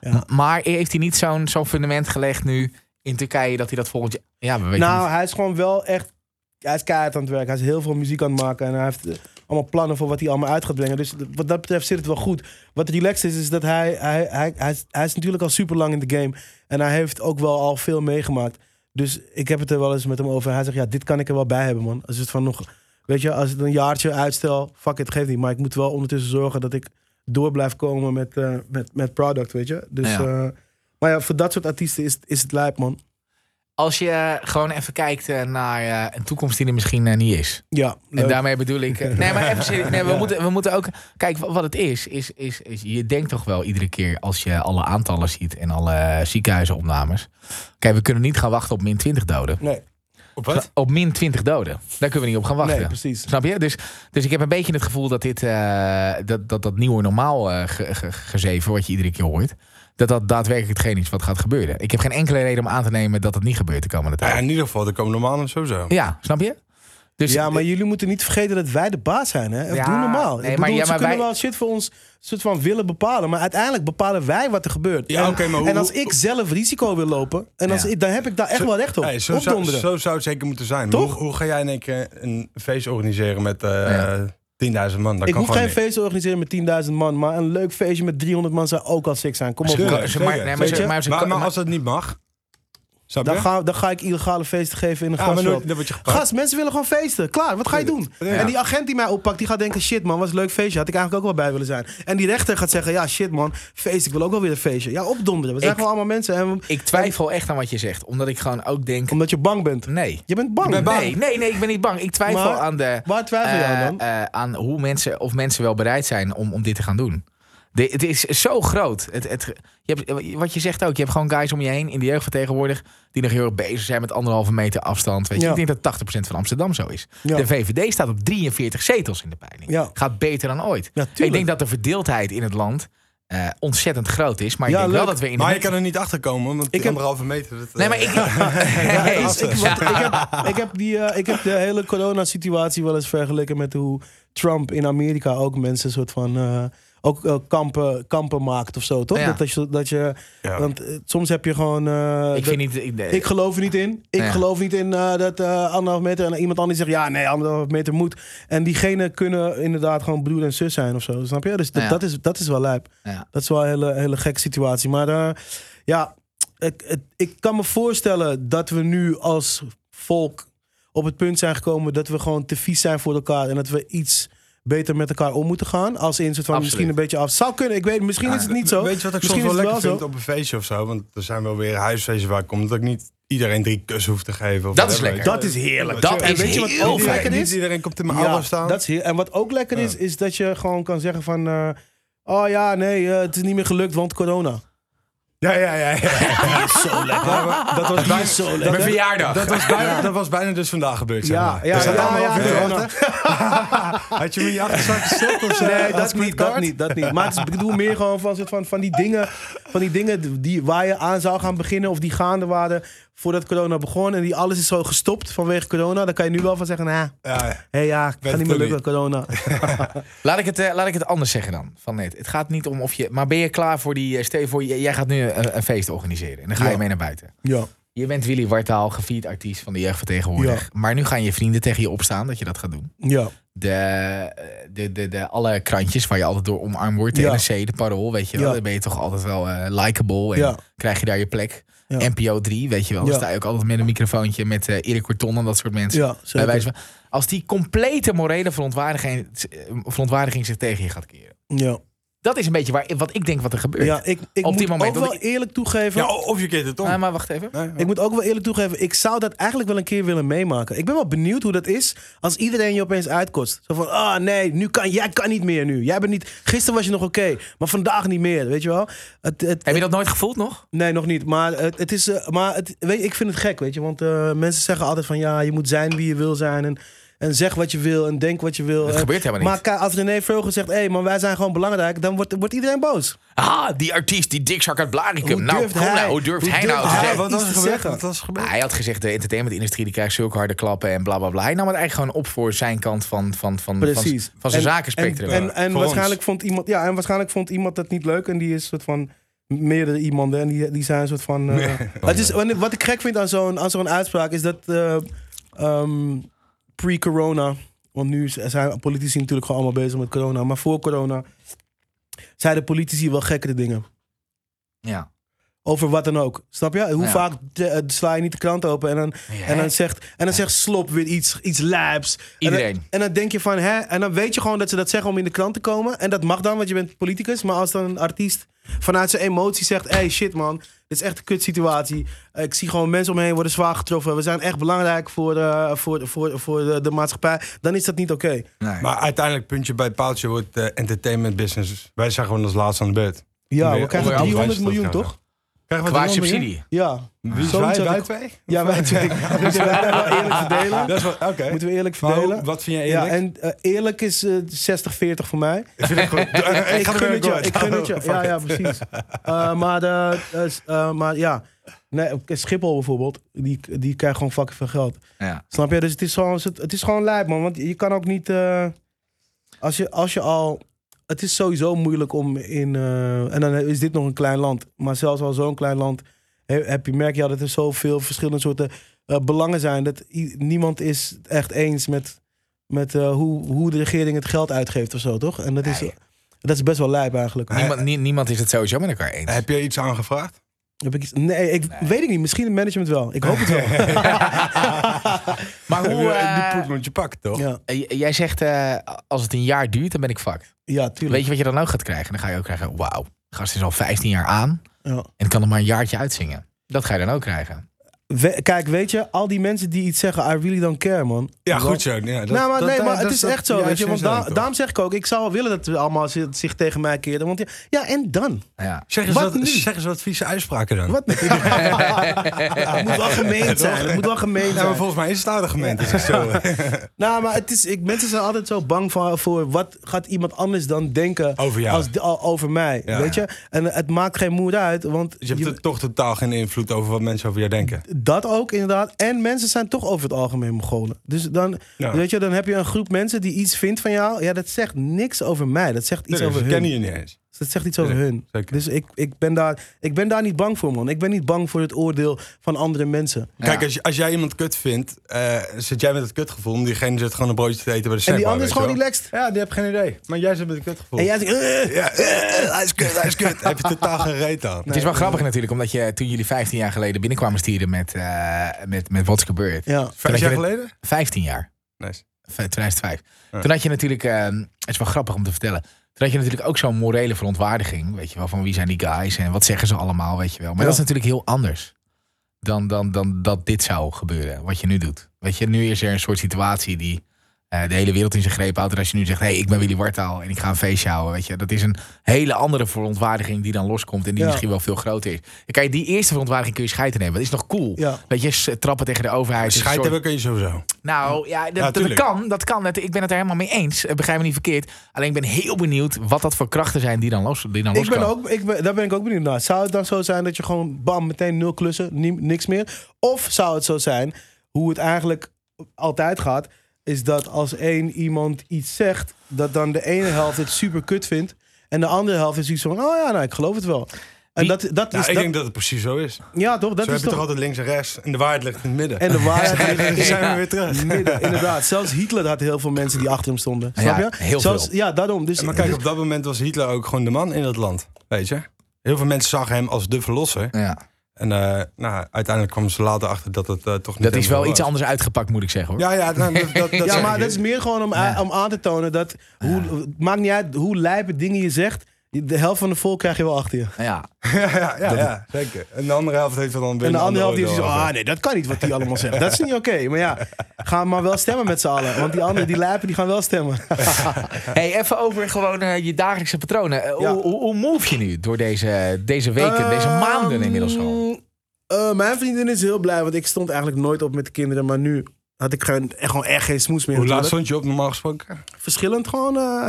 M- Maar heeft hij niet zo'n zo'n fundament gelegd nu in Turkije dat hij dat volgend jaar. Ja, we weten Nou, niet. hij is gewoon wel echt... Hij is keihard aan het werk. Hij is heel veel muziek aan het maken. En hij heeft eh, allemaal plannen voor wat hij allemaal uit gaat brengen. Dus d- wat dat betreft zit het wel goed. Wat relaxed is, is dat hij... Hij, hij, hij, is, hij is natuurlijk al super lang in de game. En hij heeft ook wel al veel meegemaakt. Dus ik heb het er wel eens met hem over. Hij zegt, ja, dit kan ik er wel bij hebben, man. Als het van nog... Weet je, als het een jaartje uitstel, fuck it, geeft niet. Maar ik moet wel ondertussen zorgen dat ik door blijf komen met, eh, met, met product, weet je. Dus, Ja. eh, maar ja, voor dat soort artiesten is, is het lijp, man. Als je gewoon even kijkt eh, naar eh, een toekomst die er misschien eh, niet is. Ja, En leuk. daarmee bedoel ik. eh, Nee, maar even serieus. Nee, we, moeten, we moeten ook. Kijk, wa- wat het is, is, is, is. Je denkt toch wel iedere keer als je alle aantallen ziet en alle eh, ziekenhuizenopnames. Kijk, we kunnen niet gaan wachten op min 20 doden. Nee, Op wat? Op min 20 doden. Daar kunnen we niet op gaan wachten. nee, precies. Snap je? Dus, dus ik heb een beetje het gevoel dat dit. eh, dat, dat, dat nieuwe normaal eh, ge- ge- gezeven, wat je iedere keer hoort. Dat dat daadwerkelijk hetgeen is wat gaat gebeuren. Ik heb geen enkele reden om aan te nemen dat het niet gebeurt de komende Ja, tijd. in ieder geval, er komen normalen sowieso. Ja, snap je? Dus ja, maar jullie moeten niet vergeten dat wij de baas zijn. Hè? Ja, Doe normaal. nee, ik maar- bedoel, ja, ze maar kunnen wij- wel shit voor ons soort van willen bepalen. Maar uiteindelijk bepalen wij wat er gebeurt. Ja, en, oké, maar hoe- en als ik zelf risico wil lopen, en als Ja. ik, dan heb ik daar echt wel recht op. Hey, zo, zou, Opdonderen. zo zou het zeker moeten zijn. Maar Toch? Hoe, hoe ga jij in één keer een feest organiseren met eh, Ja. 10.000 man? Dat ik kan hoef gewoon geen niet. feest te organiseren met 10.000 man. Maar een leuk feestje met 300 man zou ook al sick zijn. Kom op. Tuurlijk, man. Ze- zeker. maar- nee, maar ze- Weet je? maar ze- maar, maar maar- als dat niet mag, snap je? Dan ga, dan ga ik illegale feesten geven in een Ja, maar grasveld. dan word je gepakt. Gast, mensen willen gewoon feesten. Klaar, wat ga je doen? En die agent die mij oppakt, die gaat denken... shit man, was een leuk feestje. Had ik eigenlijk ook wel bij willen zijn. En die rechter gaat zeggen... ja, shit man, feest, ik wil ook wel weer een feestje. Ja, opdonderen. We zijn Ik- gewoon allemaal mensen. En, Ik twijfel echt aan wat je zegt. Omdat ik gewoon ook denk. omdat je bang bent. Nee. Je bent bang. Nee, nee, nee, ik ben niet bang. Ik twijfel Maar- aan de. Waar twijfel je eh, aan dan? eh, aan hoe mensen, of mensen wel bereid zijn om, om dit te gaan doen. De, het is zo groot. Het, het, je hebt, wat je zegt ook, je hebt gewoon guys om je heen in de jeugd vertegenwoordig. die nog heel erg bezig zijn met anderhalve meter afstand. Weet je? Ja. Ik denk dat 80% van Amsterdam zo is. Ja. De VVD staat op 43 zetels in de peiling. Ja. Gaat beter dan ooit. Ja, ik tuurlijk. denk dat de verdeeldheid in het land eh, ontzettend groot is. Maar ik Ja, denk wel leuk. dat we in de Maar je midden- kan er niet achter komen, want Ik heb- anderhalve meter. Dat, eh, Nee, maar ik. Ja, Hey. dus ik, want ik, heb, ik, heb die, eh, ik heb de hele coronasituatie wel eens vergeleken met hoe Trump in Amerika ook mensen soort van. eh, ook eh, kampen, kampen maakt of zo, toch? Ja. Dat, dat je, dat je, Ja. Want eh, soms heb je gewoon. eh, Ik dat- vind niet. Ik, ik geloof er niet in. Ik Ja. geloof niet in eh, dat eh, anderhalf meter. En iemand anders zegt, ja, nee, anderhalf meter moet. En diegenen kunnen inderdaad gewoon broer en zus zijn of zo. Snap je? Dus dat, Ja. dat, is, dat is wel lijp. Ja. Dat is wel een hele, hele gekke situatie. Maar eh, ja, ik, het- ik kan me voorstellen dat we nu als volk op het punt zijn gekomen dat we gewoon te vies zijn voor elkaar. En dat we iets beter met elkaar om moeten gaan. Als in soort van Absoluut. misschien een beetje af. Zou kunnen, ik weet, misschien is het niet zo. Weet je wat ik misschien soms wel is het lekker vind zo. op een feestje of zo? Want er zijn wel weer huisfeesten waar ik kom. Dat ik niet iedereen drie kussen hoef te geven. Of Dat is whatever, lekker. weet je. Dat is heerlijk. Dat en is weet je wat heel ook fijn. lekker Niet is? iedereen komt in mijn Ja, aura staan. Dat is heel, en wat ook lekker is, is dat je gewoon kan zeggen van... eh, oh ja, nee, eh, het is niet meer gelukt, want corona. Ja, ja, ja. zo lekker. dat was bijna zo dat- lekker. Dat, verjaardag. was bijna, dat was bijna dus vandaag gebeurd. Zeg Ja, maar. ja, Er staat ja, allemaal ja, over te ja. wachten. Had je me in je achterzak gestopt of zo? Nee, Als dat niet, dat creditcard? niet, dat niet. Maar het is- ik bedoel meer gewoon van, soort van, van die dingen, van die dingen die, waar je aan zou gaan beginnen of die gaande waren voordat corona begon. En die alles is zo gestopt vanwege corona. Dan kan je nu wel van zeggen, nou, Ja, hé ja, het Werd gaat niet meer het lukken, corona. Laat ik, het, eh, laat ik het anders zeggen dan. Van net. Het gaat niet om of je. Maar ben je klaar voor die. eh, Stel je voor, j- jij gaat nu eh, een, een feest organiseren. En dan ga je Ja. mee naar buiten. Ja, Je bent Willy Wartaal, gevierd artiest van de jeugdvertegenwoordig. Maar nu gaan je vrienden tegen je opstaan dat je dat gaat doen. ja, De, eh, de, de, de, alle krantjes waar je altijd door omarmd wordt. De Ja. NRC, de Parool, weet je wel. Ja. Dan ben je toch altijd wel eh likable. En Ja. krijg je daar je plek. Ja. NPO 3, weet je wel. Dan Ja. sta je ook altijd met een microfoontje met eh, Erik Corton en dat soort mensen. ja, Bij zeker. wijze van- eh, als die complete morele verontwaardiging, verontwaardiging zich tegen je gaat keren. ja. Dat is een beetje waar, wat ik denk wat er gebeurt. Ja, ik, ik Op moet die moment, ook wel want eerlijk toegeven. Ja, of je keert het om. Ah, maar wacht even. Nee, Ik moet ook wel eerlijk toegeven, ik zou dat eigenlijk wel een keer willen meemaken. Ik ben wel benieuwd hoe dat is als iedereen je opeens uitkotst. Zo van, ah nee, nu kan, jij kan niet meer nu. Jij bent niet, gisteren was je nog oké, maar vandaag niet meer, weet je wel. Het, het, Heb je dat nooit gevoeld nog? nee, nog niet, maar, het, het is, eh, maar het, weet, je, ik vind het gek, weet je. Want eh, mensen zeggen altijd van, ja, je moet zijn wie je wil zijn en, en zeg wat je wil en denk wat je wil. Dat En- gebeurt helemaal maar niet. ka- als René Vroger zegt, hé hey, man, wij zijn gewoon belangrijk, dan wordt, wordt iedereen boos. Ah, die artiest, die dikzak uit Blaricum. Hoe Nou, durft kom nou, hij? hoe durft Hoe hij durft nou? te hij? zeggen- Ah, zeg, wat was iets er te gebeurd? zeggen. Wat was er Nou, gebeurd? hij had gezegd, de entertainmentindustrie die krijgt zulke harde klappen en bla bla bla. Hij nam het eigenlijk gewoon op voor zijn kant van, van, van, van, Precies. van zijn En- zakenspectrum. En, en, en Voor waarschijnlijk vond iemand, ja, en waarschijnlijk vond iemand dat niet leuk. En die is een soort van meerdere iemanden. En die, die zijn een soort van. eh, het is, wat ik- wat ik gek vind aan zo'n aan zo'n uitspraak is dat eh, ehm, pre-corona. Want nu z- zijn politici natuurlijk gewoon allemaal bezig met corona. Maar voor corona zeiden politici wel gekkere dingen. ja. Over wat dan ook. Snap je? Hoe Ja. vaak eh, sla je niet de krant open en dan, en dan, zegt, en dan zegt Slop weer iets, iets lijps. En Iedereen. dan, en dan denk je van, hè? En dan weet je gewoon dat ze dat zeggen om in de krant te komen. En dat mag dan, want je bent politicus. Maar als dan een artiest vanuit zijn emotie zegt... hey, shit man, dit is echt een kut situatie. Ik zie gewoon mensen omheen worden zwaar getroffen. We zijn echt belangrijk voor, eh, voor, voor, voor de, de maatschappij. Dan is dat niet oké. Nee. Maar uiteindelijk, puntje bij paaltje, wordt de entertainment business. Wij zijn gewoon als laatste aan de beurt. Ja, Weer we krijgen onderaan de 300 lijst miljoen, staat, toch? Krijgen we Qua 300 miljoen? subsidie. Ja. Wie is Zo wij, zat wij ik- twee? Ja, wij twee. Moeten we dat wel eerlijk verdelen? Dat is wel, oké. Moeten we eerlijk Maar hoe- verdelen? Wat vind jij Ja, eerlijk? en eh, eerlijk is eh, 60-40 voor mij. Ik vind het gewoon- Ik, Ik ga er gun weer het je, door. ik gun het je. Ja, ja, precies. Eh, maar, de, eh, s- eh, maar ja, nee, oké, Schiphol bijvoorbeeld, die, die krijgt gewoon fucking veel geld. Ja. Snap je? Dus het is, zo, het is gewoon lijp, man. Want je kan ook niet... eh, als, je, als je al... Het is sowieso moeilijk om in... eh, en dan is dit nog een klein land. Maar zelfs al zo'n klein land he- heb je, merk je al dat er zoveel verschillende soorten eh, belangen zijn. Dat i- niemand is het echt eens met, met eh, hoe, hoe de regering het geld uitgeeft of zo, toch? En dat is, Nee. dat is best wel lijp eigenlijk. Niemand, nie- niemand is het sowieso met elkaar eens. Heb je iets aangevraagd? Heb ik iets- nee, ik weet ik niet. Misschien het management wel. Ik hoop het wel. Maar hoe... Die eh, poep moet je pakken, toch? ja, j- jij zegt, eh, als het een jaar duurt, dan ben ik fucked. ja, tuurlijk. Weet je wat je dan ook gaat krijgen? Dan ga je ook krijgen, wauw, gast is al 15 jaar aan Ja. en kan er maar een jaartje uitzingen. Dat ga je dan ook krijgen. We- kijk, weet je, al die mensen die iets zeggen, I really don't care, man. Ja, Wel- goed zo. Ja, dat- nou, maar, dat- nee, maar dat- het dat- is dat- echt zo, ja, weet je. Want zo is da- het ook. daarom zeg ik ook, ik zou wel willen dat we allemaal zi- zich tegen mij keren. Want ja, ja, en dan? Ja. Zeg eens, Wat wat, nu? zeg eens wat vieze uitspraken dan. Wat? het moet wel gemeen zijn. Het moet wel gemeen Nou, zijn. maar volgens mij is het aardigement. Is het zo. Nou, maar het is, ik, mensen zijn altijd zo bang voor, voor wat gaat iemand anders dan denken Over jou. als, de- al- over mij. Ja. Weet je? En het maakt geen moer uit, want je hebt je- er toch totaal geen invloed over wat mensen over jou denken. dat ook inderdaad. En mensen zijn toch over het algemeen Mongolen. Dus dan, Ja. weet je, dan heb je een groep mensen die iets vindt van jou. Ja, dat zegt niks over mij. Dat zegt iets Nee, over ze hun. kennen je niet eens. Dat zegt iets over Nee, hun. zeker. Dus ik, ik, ben daar, ik ben daar niet bang voor, man. Ik ben niet bang voor het oordeel van andere mensen. Kijk, als, je- als jij iemand kut vindt, eh, zit jij met het kutgevoel. En diegene zit gewoon een broodje te eten bij de snackbar. en die ander is weet gewoon je wel. relaxed. Ja, die heeft geen idee. Maar jij zit met het kutgevoel. En jij zegt, "Eh." Ja, eh, eh, hij is kut, hij is kut. Heb je totaal geen reet aan. Het is wel grappig natuurlijk, omdat je toen jullie 15 jaar geleden binnenkwamen stieren met, eh, met, met What's Gebeurd. ja. Vijf jaar je- geleden? 15 jaar, Nice. v- 2005. Ja. eh, Toen had je natuurlijk, ehm, het is wel grappig om te vertellen. Toen had je natuurlijk ook zo'n morele verontwaardiging. Weet je wel, van wie zijn die guys en wat zeggen ze allemaal, weet je wel. Maar dat is natuurlijk heel anders dan, dan, dan dat dit zou gebeuren, wat je nu doet. Weet je, nu is er een soort situatie die eh, de hele wereld in zijn greep houdt. En als je nu zegt, hey, ik ben Willy Wartaal en ik ga een feestje houden, weet je. Dat is een hele andere verontwaardiging die dan loskomt en die Ja. misschien wel veel groter is. Kijk, die eerste verontwaardiging kun je scheiden nemen. Dat is nog cool. Ja. Weet je, s- trappen tegen de overheid. is een Scheid soort- hebben kun je sowieso. nou, ja, dat, dat tuurlijk. kan. Dat kan. Dat- ik ben het er helemaal mee eens. Eh, Begrijp me niet verkeerd. Alleen ik ben heel benieuwd wat dat voor krachten zijn die dan los die dan Ik ben loskomen. ook, ik ben, daar ben ik ook benieuwd naar. Zou het dan zo zijn dat je gewoon bam, meteen nul klussen, ni- niks meer? Of zou het zo zijn, hoe het eigenlijk altijd gaat, is dat als één iemand iets zegt, dat dan de ene helft het super kut vindt en de andere helft is iets van, oh ja, nou, ik geloof het wel. En Wie- dat, dat Nou, is ik dat, denk dat het precies zo is. ja toch? Dat zo heb is je toch toch. altijd links en rechts. En de waarheid ligt in het midden. En de waarheid is- is zijn we weer terug. midden, inderdaad. Zelfs Hitler had heel veel mensen die achter hem stonden. Ja, Snap je? heel Zelfs, veel. Ja, daarom. Dus, Maar kijk, op dat moment was Hitler ook gewoon de man in dat land. Weet je? Heel veel mensen zagen hem als de verlosser. Ja. En eh, nou, uiteindelijk kwamen ze later achter dat het eh, toch niet Dat is helemaal wel iets was. anders uitgepakt, moet ik zeggen hoor. Ja, ja, nou, dat, dat, dat ja, zeg maar ik dat je. is meer gewoon om, a- om aan te tonen dat hoe, het maakt niet uit hoe lijpe dingen je zegt. De helft van de volk krijg je wel achter je. Nou ja, ja, ja, ja, ja, zeker. En de andere helft heeft er dan weer En de een andere helft die oordeel zo, over. ah nee, dat kan niet wat die allemaal zeggen. Dat is niet oké. Maar ja, ga maar wel stemmen met z'n allen. Want die anderen, die lijpen, die gaan wel stemmen. Hey, even over gewoon eh, je dagelijkse patronen. Eh, Ja. hoe, hoe, hoe move je nu door deze, deze weken, deze Ehm, maanden inmiddels al? eh, mijn vriendin is heel blij, want ik stond eigenlijk nooit op met de kinderen. Maar nu had ik gewoon echt, gewoon echt geen smoes meer. Hoe laat natuurlijk. stond je op normaal gesproken? Verschillend gewoon. eh,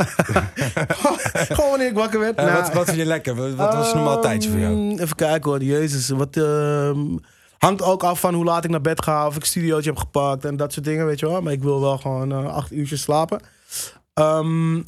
gewoon wanneer ik wakker werd. Eh, Nou, wat, wat vind je lekker? Wat, wat was een normaal tijdje voor jou? Ehm, Even kijken hoor, jezus. Wat, ehm, hangt ook af van hoe laat ik naar bed ga, of ik een studiootje heb gepakt en dat soort dingen, weet je wel. Maar ik wil wel gewoon eh, acht uurtjes slapen. Ehm,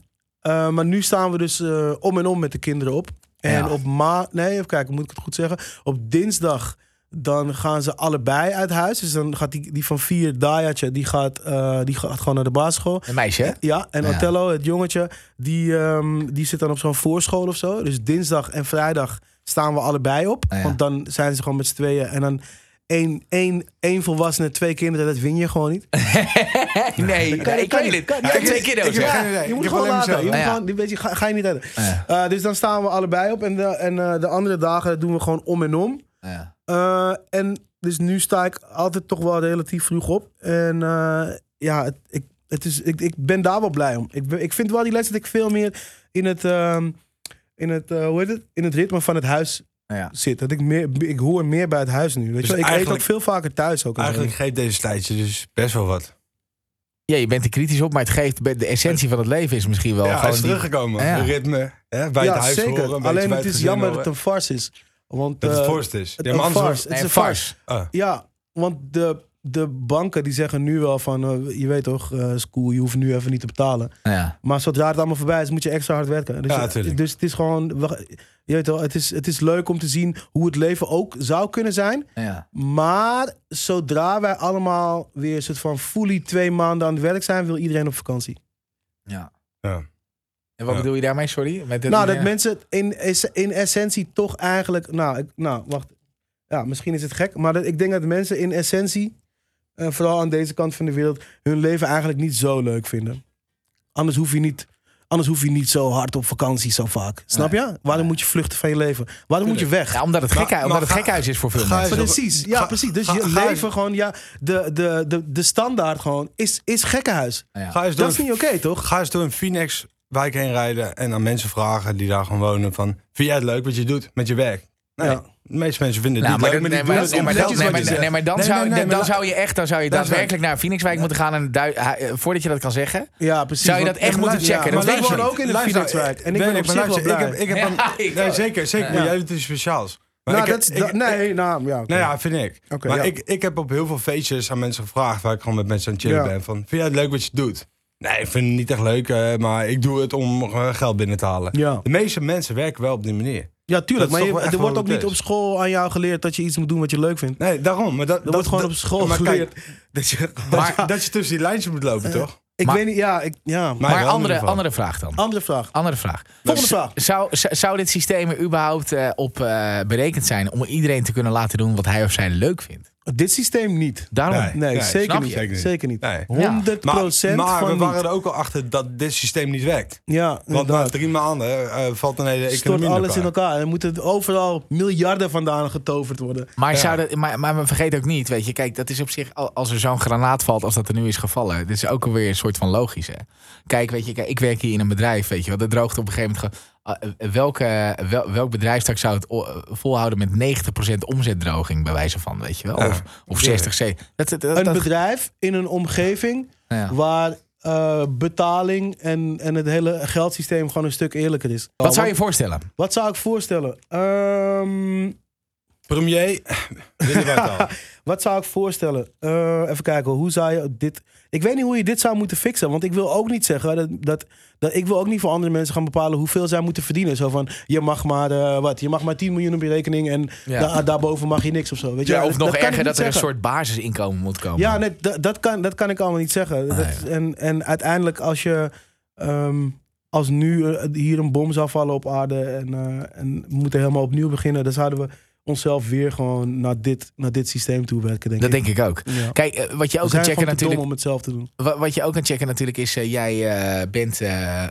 eh, maar nu staan we dus eh, om en om met de kinderen op. En Ja. op ma... Nee, even kijken, moet ik het goed zeggen? Op dinsdag dan gaan ze allebei uit huis. Dus dan gaat die, die van vier, Dayatje, die gaat, eh, die gaat gewoon naar de basisschool. Een meisje, hè? Ja, en Ja. Otello, het jongetje, die, ehm, die zit dan op zo'n voorschool of zo. Dus dinsdag en vrijdag staan we allebei op. Ah, ja. Want dan zijn ze gewoon met z'n tweeën. En dan één, één, één volwassene, twee kinderen, dat win je gewoon niet. Nee, kan- ik kan weet niet. het. Kan- Ik heb twee kiddo's, heb hè? geen idee. Je Ik moet heb gewoon alleen laten. mezelf. Je moet Ja. Ah, gewoon, die weet je, ga, ga je niet uit. Ja. Eh, dus dan staan we allebei op. En, de, en eh, de andere dagen doen we gewoon om en om. Ja. Eh, en dus nu sta ik altijd toch wel relatief vroeg op. En eh, ja, het, ik, het is, ik, ik ben daar wel blij om. Ik, ben- ik vind wel die les dat ik veel meer in het, ehm, in het, eh, hoe heet het? In het ritme van het huis Ja. zit. Dat ik, meer, ik hoor meer bij het huis nu. Weet je wel? Ik eet ook Dus eigenlijk- veel vaker thuis ook. en zo. Eigenlijk geeft deze tijdje dus best wel wat. Ja, je bent er kritisch op, maar het geeft, de essentie van het leven is misschien wel ja, hij gewoon... is die- teruggekomen. Ja. De ritme. Hè, bij ja, het huis zeker. horen. Een beetje Alleen bij het is gezin jammer horen. dat het een farce is. Want, dat het eh, voorst is. het- Ja, maar een anders- farce. Het is Nee, een farce. farce. Ah. Ja, want de, de banken die zeggen nu wel van, eh, je weet toch, eh school, je hoeft nu even niet te betalen. Ja. Maar zodra het allemaal voorbij is, moet je extra hard werken. Dus, Ja, tuurlijk. dus het is gewoon, we- je weet wel, het is, het is leuk om te zien hoe het leven ook zou kunnen zijn. Ja. Maar zodra wij allemaal weer een soort van fully twee maanden aan het werk zijn, wil iedereen op vakantie. ja. Ja. En wat Ja. bedoel je daarmee, sorry? Met dit- nou, dat ja. mensen het in, es- in essentie toch eigenlijk, nou, ik, nou, wacht. Ja, misschien is het gek, maar dat, ik denk dat mensen in essentie, eh, vooral aan deze kant van de wereld, hun leven eigenlijk niet zo leuk vinden. Anders hoef je niet, anders hoef je niet zo hard op vakantie zo vaak. Snap je? Waarom moet je vluchten van je leven? Waarom moet je weg? Ja, omdat het, Maar- gekhu- maar omdat het ga- gekhuis is voor veel ga mensen. eens- Precies, ja, Ga- precies. Dus ga- je ga- leven gewoon, ja, de, de, de, de standaard gewoon is, is gekkenhuis. Ja. Ga eens door Dat is een- niet oké, toch? Ga eens door een Phoenix wijk heen rijden en aan mensen vragen die daar gewoon wonen van... Vind jij het leuk wat je doet met je werk? Nee, Ja. de meeste mensen vinden het Nou, niet leuk, maar dat- maar die nee, maar doen dat- het nee, om maar dat- geld nee, wat maar- je zegt. nee, maar dan Nee, zou- nee, nee, dan maar zou je echt dan zou je Dat is waar. daadwerkelijk naar een Phoenixwijk moeten gaan. En dui- hu- eh, voordat je dat kan zeggen. Ja, precies. Zou je want- dat echt en moeten luister- checken? Ja, Dat maar wij weet je wonen niet. ook in de Luister, Phoenixwijk. En ik weet ben op ik, maar zich wel luister, ik blij. heb, ik heb een- Ja, ik nee, ook. zeker, zeker. Maar Ja. jij doet iets speciaals. Maar Nou, ik heb- dat is, ik- dat- nee, nou, ja. oké. Nou ja, vind ik. Oké, maar ja. ik, ik heb op heel veel feestjes aan mensen gevraagd waar ik gewoon met mensen aan het chillen Ja. ben. Van, vind jij het leuk wat je doet? Nee, ik vind het niet echt leuk, eh, maar ik doe het om eh, geld binnen te halen. Ja. De meeste mensen werken wel op die manier. Ja, Dat tuurlijk. Maar is je- toch wel echt er wordt wel ook hoe niet het op is. school aan jou geleerd dat je iets moet doen wat je leuk vindt. Nee, daarom. Maar dat, Er dat wordt gewoon dat- op school maar kijk, geleerd. Eh, dat je, dat, je, dat je tussen die lijntjes moet lopen, toch? ik maar- weet niet, ja, ik, ja. Maar- Maar wel in andere, ieder geval. andere vraag dan. Andere vraag. Andere vraag. Volgende Z- vraag. Zou, z- zou dit systeem er überhaupt eh, op eh, berekend zijn om iedereen te kunnen laten doen wat hij of zij leuk vindt? Dit systeem niet. Daarom. Nee. Nee, zeker, snap niet. je? zeker niet. Zeker niet. Nee. 100 Maar, maar we van waren niet. er ook al achter dat dit systeem niet werkt. Ja, Want na inderdaad. drie maanden eh, valt een hele Stort economie alles in elkaar. elkaar. Er moeten overal miljarden vandaan getoverd worden. Maar, zou dat, maar, maar we vergeten ook niet, weet je, kijk, dat is op zich, al- als er zo'n granaat valt als dat er nu is gevallen, dit is ook alweer een soort van logisch. Hè? Kijk, weet je, kijk, ik werk hier in een bedrijf, weet je wel, dat droogt op een gegeven moment. gewoon- eh, welke, wel- welk bedrijfstak zou het o- eh, volhouden met 90% omzetdroging, bij wijze van, weet je wel? Ja. Of, of 60, 70. Dat, dat, dat, Een dat- bedrijf in een omgeving ja. waar eh, betaling en, en het hele geldsysteem gewoon een stuk eerlijker is. Wat zou je voorstellen? Wat zou ik voorstellen? Ehm, Premier, eh, willen wij het al. wat zou ik voorstellen? Eh, even kijken, hoe zou je dit. Ik weet niet hoe je dit zou moeten fixen. Want ik wil ook niet zeggen dat. dat, dat ik wil ook niet voor andere mensen gaan bepalen hoeveel zij moeten verdienen. Zo van: je mag maar, eh, wat, je mag maar 10 miljoen op je rekening en Ja. da- daarboven mag je niks of zo. Weet je? Ja, of Dat- nog dat kan ik erger, niet dat er een zeggen. soort basisinkomen moet komen. Ja, nee, dat, dat, kan, dat kan ik allemaal niet zeggen. Ah, Dat- en, en uiteindelijk als je... ehm, als nu eh, hier een bom zou vallen op aarde en, eh, en we moeten helemaal opnieuw beginnen... dan zouden we onszelf weer gewoon naar dit, naar dit systeem toe werken, denk dat ik. denk ik ook. Ja. Kijk, eh, wat je we ook kan zijn gewoon checken te dom natuurlijk. om het zelf te doen. Wa- Wat je ook kan checken natuurlijk is, eh, jij eh, bent eh,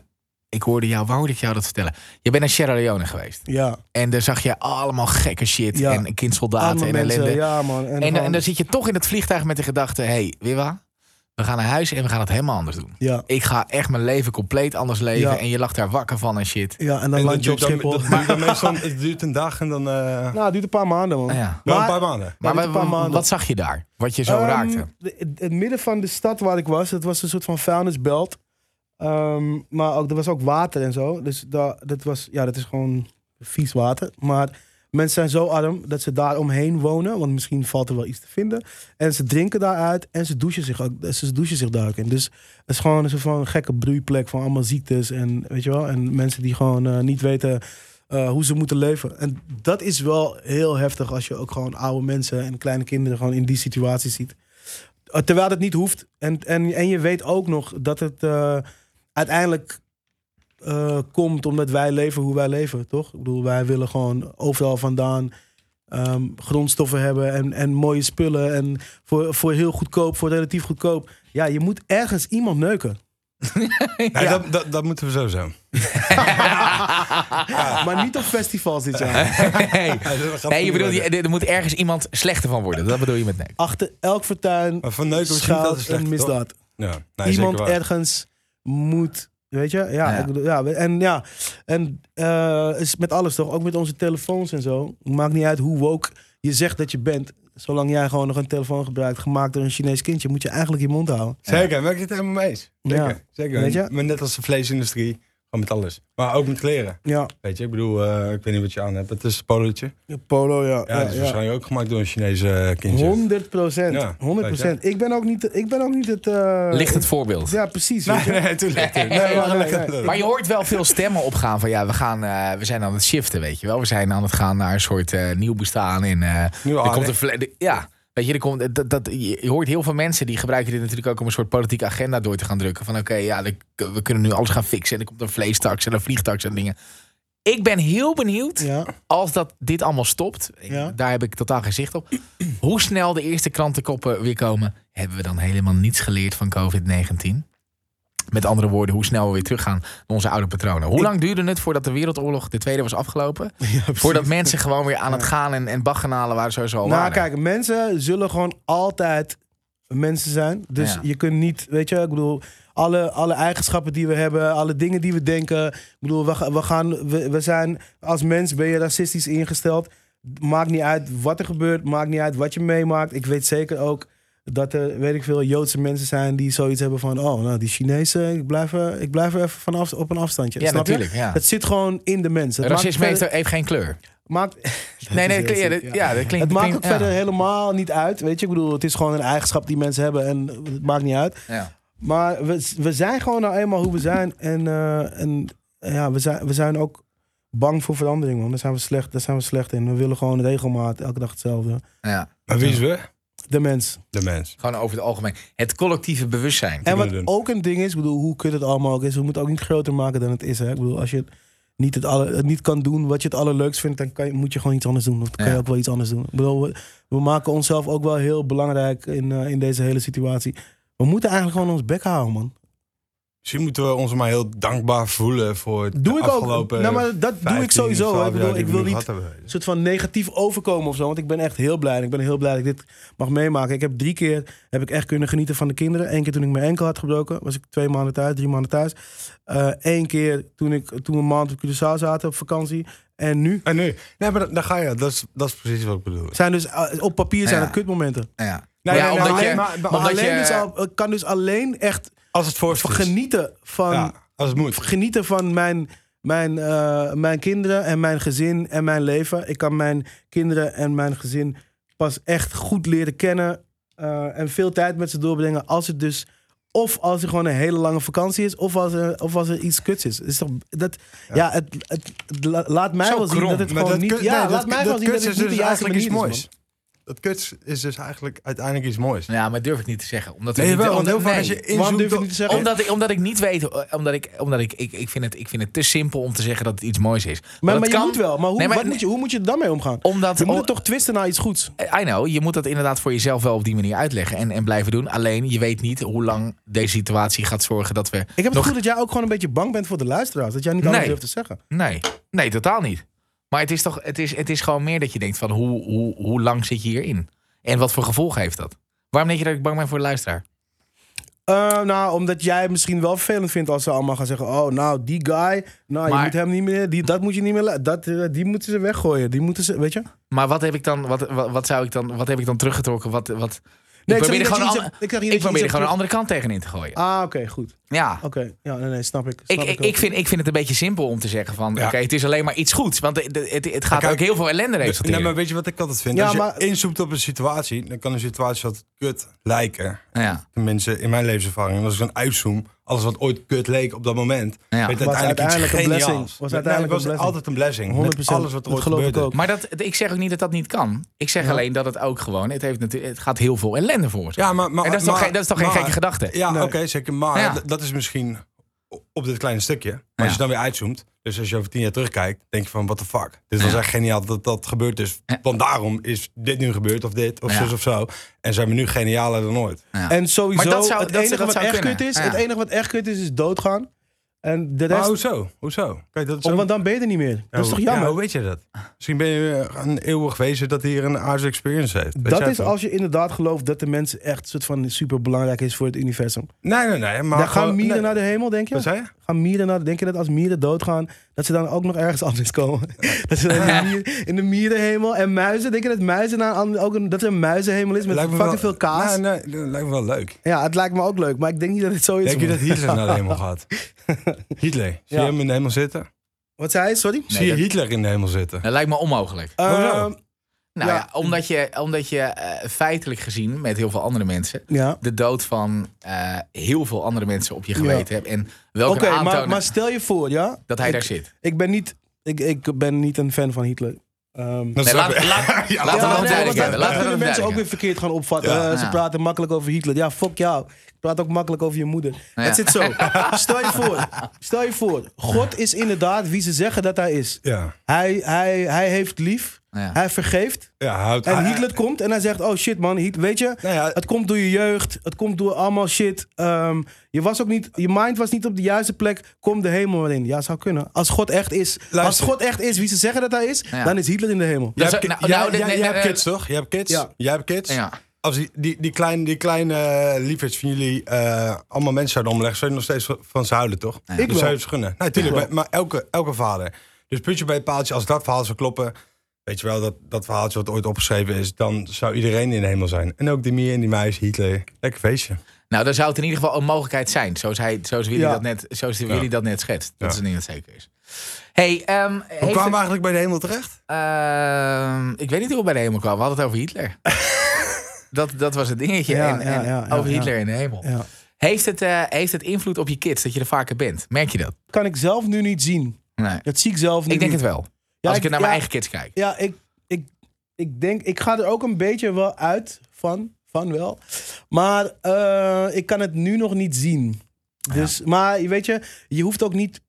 Ik hoorde jou, waar hoorde ik jou dat vertellen? Je bent naar Sierra Leone geweest. Ja, En daar zag je allemaal gekke shit. Ja. En kindsoldaten andere en mensen. ellende. Ja, man. En, En, dus- gewoon- en dan zit je toch in het vliegtuig met de gedachte: hé, hey, Wiwa, we gaan naar huis en we gaan het helemaal anders doen. ja, Ik ga echt mijn leven compleet anders leven. Ja. En je lag daar wakker van en shit. ja, en dan En dat land je op duurt dan- Schiphol. dat duurt dan meestal- Het duurt een dag en dan... eh nou, Nou, het duurt een paar maanden, man. Ja. een maar- paar maanden. Maar dit wa- een paar wa- maanden. wat zag je daar? Wat je zo Ehm, raakte? de- het- het midden van de stad waar ik was, het was een soort van vuilnisbelt. Ehm, maar ook, er was ook water en zo. Dus da, dat, was, ja, dat is gewoon vies water. Maar mensen zijn zo arm dat ze daar omheen wonen. Want misschien valt er wel iets te vinden. En ze drinken daaruit en ze douchen zich, ook, ze douchen zich daar ook in. Dus het is gewoon een soort van gekke broeiplek van allemaal ziektes. En, weet je wel, en mensen die gewoon eh, niet weten eh, hoe ze moeten leven. En dat is wel heel heftig als je ook gewoon oude mensen en kleine kinderen gewoon in die situatie ziet. Uh, Terwijl dat niet hoeft. En, en, en je weet ook nog dat het eh, uiteindelijk eh, komt omdat wij leven hoe wij leven, toch? Ik bedoel, wij willen gewoon overal vandaan ehm, grondstoffen hebben en, en mooie spullen. En voor, voor heel goedkoop, voor relatief goedkoop. Ja, je moet ergens iemand neuken. Ja, Dat, dat, dat moeten we sowieso. Maar niet op festivals dit jaar. Hey. Ja, dat gaat Nee, je goed bedoelt, worden. je- er moet ergens iemand slechter van worden. Dat bedoel je met nee. Achter elk fortuin Maar van neuken misschien dat is schuilt slecht, toch? een misdaad. Ja, nee, iemand zeker waar. ergens moet. Weet je? Ja, Ik bedoel, ja en ja. En eh, is met alles toch? Ook met onze telefoons en zo. Maakt niet uit hoe woke je zegt dat je bent. Zolang jij gewoon nog een telefoon gebruikt, gemaakt door een Chinees kindje, moet je eigenlijk je mond houden. Zeker, ben ik het helemaal mee eens. Zeker, Ja. zeker. Weet je? Maar net als de vleesindustrie, gewoon met alles. Maar ook met kleren, Ja, weet je. Ik bedoel, eh, ik weet niet wat je aan hebt. Het is een polootje. polo, ja. Ja, dat is waarschijnlijk ook gemaakt door een Chinese eh, kindje. 100 procent. Ja, 100 procent. Ik ben ook niet, ik ben ook niet het. eh, Ligt het voorbeeld. Ja, precies. weet Nee, je. nee, tuurlijk. tuurlijk. Nee, Nee, maar nee, gelukkig- nee. Maar je hoort wel veel stemmen opgaan van ja, we, gaan, eh, we zijn aan het shiften, weet je wel. We zijn aan het gaan naar een soort eh, nieuw bestaan. En, eh, Nieuwe er aarde. komt een vle- de- ja, weet je, er komt, dat, dat, je je hoort heel veel mensen die gebruiken dit natuurlijk ook om een soort politieke agenda door te gaan drukken. Van oké, ja, de- we kunnen nu alles gaan fixen. En er komt een vleestaks en een vliegtaks en dingen. Ik ben heel benieuwd, Ja. als dat dit allemaal stopt, ik- Ja. daar heb ik totaal geen zicht op, hoe snel de eerste krantenkoppen weer komen. Hebben we dan helemaal niets geleerd van COVID-19? Met andere woorden, hoe snel we weer teruggaan naar onze oude patronen. Hoe lang duurde het voordat de Wereldoorlog, de Tweede, was afgelopen? voordat mensen gewoon weer aan het gaan en, en baggenalen waren sowieso al Nou, waren. kijk, mensen zullen gewoon altijd mensen zijn. Dus Ja. je kunt niet, weet je, ik bedoel, alle, alle eigenschappen die we hebben, alle dingen die we denken. Ik bedoel, we, ga- we gaan, we, we zijn, als mens ben je racistisch ingesteld. Maakt niet uit wat er gebeurt, maakt niet uit wat je meemaakt. Ik weet zeker ook dat er, weet ik veel, Joodse mensen zijn die zoiets hebben van, oh, nou, die Chinezen, ik blijf er, ik blijf er even vanaf op een afstandje. Ja, Snap je? natuurlijk, ja. Het zit gewoon in de mens. Het maakt Racisme heeft, verder- heeft geen kleur. maakt, Nee, nee, heel dat klinkt- ja, ziek, dat, ja. ja, dat klinkt... het maakt klinkt- ook ja. verder helemaal niet uit. Weet je, ik bedoel, het is gewoon een eigenschap die mensen hebben en het maakt niet uit. Ja. Maar we, we zijn gewoon nou eenmaal hoe we zijn. En, eh, en eh, ja, we zijn, we zijn ook bang voor verandering, man. Daar zijn, we slecht, daar zijn we slecht in. We willen gewoon regelmaat, elke dag hetzelfde. Ja, Maar wie is we? De mens. De mens. gewoon over het algemeen. Het collectieve bewustzijn. En wat kunnen doen. ook een ding is, ik bedoel, hoe kut het allemaal ook is, we moeten het ook niet groter maken dan het is. Hè? Ik bedoel, als je niet het, alle, het niet kan doen wat je het allerleukst vindt, dan kan je, moet je gewoon iets anders doen. Of dan kan Ja. je ook wel iets anders doen. Ik bedoel, we, we maken onszelf ook wel heel belangrijk in, eh, in deze hele situatie. We moeten eigenlijk gewoon ons bek houden, man. Misschien moeten we ons maar heel dankbaar voelen voor het Doe de ik ook. afgelopen Nou, maar dat doe ik 15, sowieso. hè. 12 Ik, jaar bedoel, die ik we wil nu niet gehad hebben. een soort van negatief overkomen of zo. Want ik ben echt heel blij. En Ik ben heel blij dat ik dit mag meemaken. Ik heb drie keer heb ik echt kunnen genieten van de kinderen. Eén keer toen ik mijn enkel had gebroken. Was ik twee maanden thuis, drie maanden thuis. Eén keer toen, ik, toen we een maand op Curaçao zaten op vakantie. En nu En nu? Nee, maar daar ga je. Dat is, dat is precies wat ik bedoel. zijn dus eh, op papier zijn Ja. het kutmomenten. Ja. Nee, ja, nee, nee, omdat alleen je, maar- maar Maar omdat alleen je- is al, ik kan dus alleen echt Als het voor genieten van... Ja, als het moet. genieten van mijn, mijn, eh, mijn kinderen en mijn gezin en mijn leven. Ik kan mijn kinderen en mijn gezin pas echt goed leren kennen. eh, en veel tijd met ze doorbrengen als het dus... Of als er gewoon een hele lange vakantie is, of als er, of als er iets kuts is. is toch, dat, ja. het, het, het la- laat mij Zo wel zien krom, dat het Maar gewoon dat niet... kun- ja, nee, laat dat- mij wel dat zien dat kunst het is niet dus de juiste eigenlijk manier iets is, man. moois. dat kuts is dus eigenlijk uiteindelijk iets moois. Ja, maar durf ik niet te zeggen. Omdat we Nee, niet, wel, want omdat- heel vaak nee. als je Waarom durf je inzoekt... niet te zeggen? Omdat ik, omdat ik niet weet, eh, omdat ik, omdat ik, ik, ik, vind het, ik vind het te simpel om te zeggen dat het iets moois is. Maar, Maar, het maar je kan, moet wel. Maar Oh, hoe, Nee, maar- wat moet je, hoe moet je er dan mee omgaan? Omdat, Je moet het om- toch twisten naar iets goeds. I know, je moet dat inderdaad voor jezelf wel op die manier uitleggen en, en blijven doen. Alleen je weet niet hoe lang deze situatie gaat zorgen dat we. Ik heb het nog... gevoel dat jij ook gewoon een beetje bang bent voor de luisteraars. Dat jij niet alles Nee. durft te zeggen. Nee, nee, totaal niet. Maar het is toch, het is, het is gewoon meer dat je denkt van hoe, hoe, hoe lang zit je hierin? En wat voor gevolgen heeft dat? Waarom denk je dat ik bang ben voor de luisteraar? Eh, nou, omdat jij het misschien wel vervelend vindt als ze allemaal gaan zeggen... Oh, nou, die guy, nou, je Maar- moet hem niet meer... Die, dat moet je niet meer... la- Dat, eh, die moeten ze weggooien. Die moeten ze... Weet je? Maar wat heb ik dan, wat, wat, wat zou ik dan, wat heb ik dan teruggetrokken? Wat, wat... Nee, ik zeg probeer niet er dat gewoon, je een, iets ander- hebt- ik zeg niet ik dat je probeer er iets gewoon een hebt andere kant tegenin te gooien. Ah, oké, goed. Ja. Oké, ja, nee, nee, snap ik. Ik, Snap ik, ook. ik, vind, ik vind het een beetje simpel om te zeggen van... Ja. oké, het is alleen maar iets goeds. Want het, het, het gaat kijk, ook heel veel ellende resulteren. Nee, maar weet je wat ik altijd vind? Ja, als je maar- inzoomt op een situatie, dan kan een situatie wat kut lijken. ja, Tenminste, in mijn levenservaring. En als ik dan uitzoom, alles wat ooit kut leek op dat moment... ja. werd Was uiteindelijk, uiteindelijk een iets geniaals. blessing. Was Nee, het uiteindelijk een was blessing. altijd een blessing. 100%. 100%. alles wat er Dat ooit geloof ik gebeurde. ook. Maar dat, ik zeg ook niet dat dat niet kan. Ik zeg alleen dat het ook gewoon... Het, heeft natuurlijk, het gaat heel veel ellende voor. Ja, maar, maar, en dat is toch maar- geen, dat is toch geen maar- gekke gedachte? Ja, Nee. oké, zeker. Maar Ja. d- dat is misschien o- op dit kleine stukje. Maar als Ja. je dan weer uitzoomt, dus als je over tien jaar terugkijkt, denk je van, what the fuck? Dit was Ja. echt geniaal dat dat gebeurd is. Ja. Want daarom is dit nu gebeurd, of dit, of Ja. zus of zo. En zijn we nu genialer dan ooit. En sowieso, Maar dat zou- het dat- enige dat wat zou echt kunnen. kut is... Ja. Het enige wat echt kut is, is doodgaan. En de Maar rest... Oh, hoezo? Hoezo? Kijk, dat is Oh, ook- want dan ben je er niet meer. Ja, Dat is toch hoe- jammer? Oh, ja, hoe weet je dat? Misschien ben je eh, een eeuwig wezen dat hier een aardse experience heeft. Weet jij dat het is wel? als je inderdaad gelooft dat de mens echt soort van super belangrijk is voor het universum. Nee, nee, nee. Maar Daar gaan gewoon- mieren nee. naar de hemel, denk je? Wat zei je? Gaan mieren naar, denk je dat als mieren doodgaan, dat ze dan ook nog ergens anders komen? dat ze dan in, de mier- in de mierenhemel en muizen, denk je dat muizen naar een ander- ook een, dat er een muizenhemel is met Lijkt me fucking wel- veel kaas? Nee, nee, dat lijkt me wel leuk. Ja, het lijkt me ook leuk, maar ik denk niet dat het zo is. Denk je man. dat Hitler naar de hemel gaat? Hitler. Zie Ja. je hem in de hemel zitten? Wat zei hij? Sorry? Zie je dat- Hitler in de hemel zitten? Dat lijkt me onmogelijk. Hoezo? Ehm, Nou ja, Ja. omdat je, omdat je eh, feitelijk gezien met heel veel andere mensen... ja. de dood van eh, heel veel andere mensen op je geweten hebt. En welke Oké, aantonen maar, maar stel je voor, ja? dat hij ik, daar zit. Ik ben niet, ik, ik ben niet een fan van Hitler. Ehm, Dat Nee, snap laat- ik. laat- Ja, laten we dat dat nee, want duidelijk hebben. dat- Dat Laten we kunnen dat mensen ook weer duidelijk verkeerd gaan opvatten. Ja. Eh, ze Ja. praten makkelijk over Hitler. Ja, fuck jou. Ik praat ook makkelijk over je moeder. Ja. Het zit zo. stel, je voor, stel je voor, God is inderdaad wie ze zeggen dat hij is. Ja, Hij, hij, hij heeft lief, Ja. hij vergeeft. ja hij houdt- En hij- Hitler komt en hij zegt, oh shit man, Hitler, weet je, Eh, Nou ja, het komt door je jeugd, het komt door allemaal shit. Ehm, je, was ook niet, je mind was niet op de juiste plek, kom de hemel maar in. Ja, zou kunnen. Als God echt is, als Luister. God echt is wie ze zeggen dat hij is, Ja. dan is Hitler in de hemel. Jij Dat hebt is- ki- nou, jij- nou, jij- nee, jij nee, hebt nee. kids, toch? Jij hebt kids? Ja. Jij hebt kids? Ja. Als die, die, die kleine, die kleine eh, liefhebbers van jullie eh, allemaal mensen zouden omleggen, zou je nog steeds van ze houden, toch? Ik Dus zou wel. je het gunnen. Nee, tuurlijk, maar, maar elke, elke vader. Dus puntje bij paaltje, als dat verhaal zou kloppen, weet je wel, dat, dat verhaaltje wat ooit opgeschreven is, dan zou iedereen in de hemel zijn. En ook die mier en die meis, Hitler. Lekker feestje. Nou, dan zou het in ieder geval een mogelijkheid zijn. Zoals, hij, zoals Willy, Ja. dat, net, zoals Willy dat net schetst. Ja. Dat is een ding dat zeker is. Hey, ehm, Hoe heeft kwamen we het- eigenlijk bij de hemel terecht? ehm, ik weet niet hoe we bij de hemel kwamen. We hadden het over Hitler. dat, dat was het dingetje. Ja, en, en ja, ja, ja, over ja. Hitler in de hemel. Ja. Heeft, het, eh, heeft het invloed op je kids dat je er vaker bent? Merk je dat? Kan ik zelf nu niet zien. Nee. Dat zie ik zelf niet. Ik denk het wel. Ja, Als ik het naar mijn ja, eigen kids kijk. Ja, ik, ik, ik denk, ik ga er ook een beetje wel uit van, van wel. Maar eh, ik kan het nu nog niet zien. Dus, Maar je weet je, je hoeft ook niet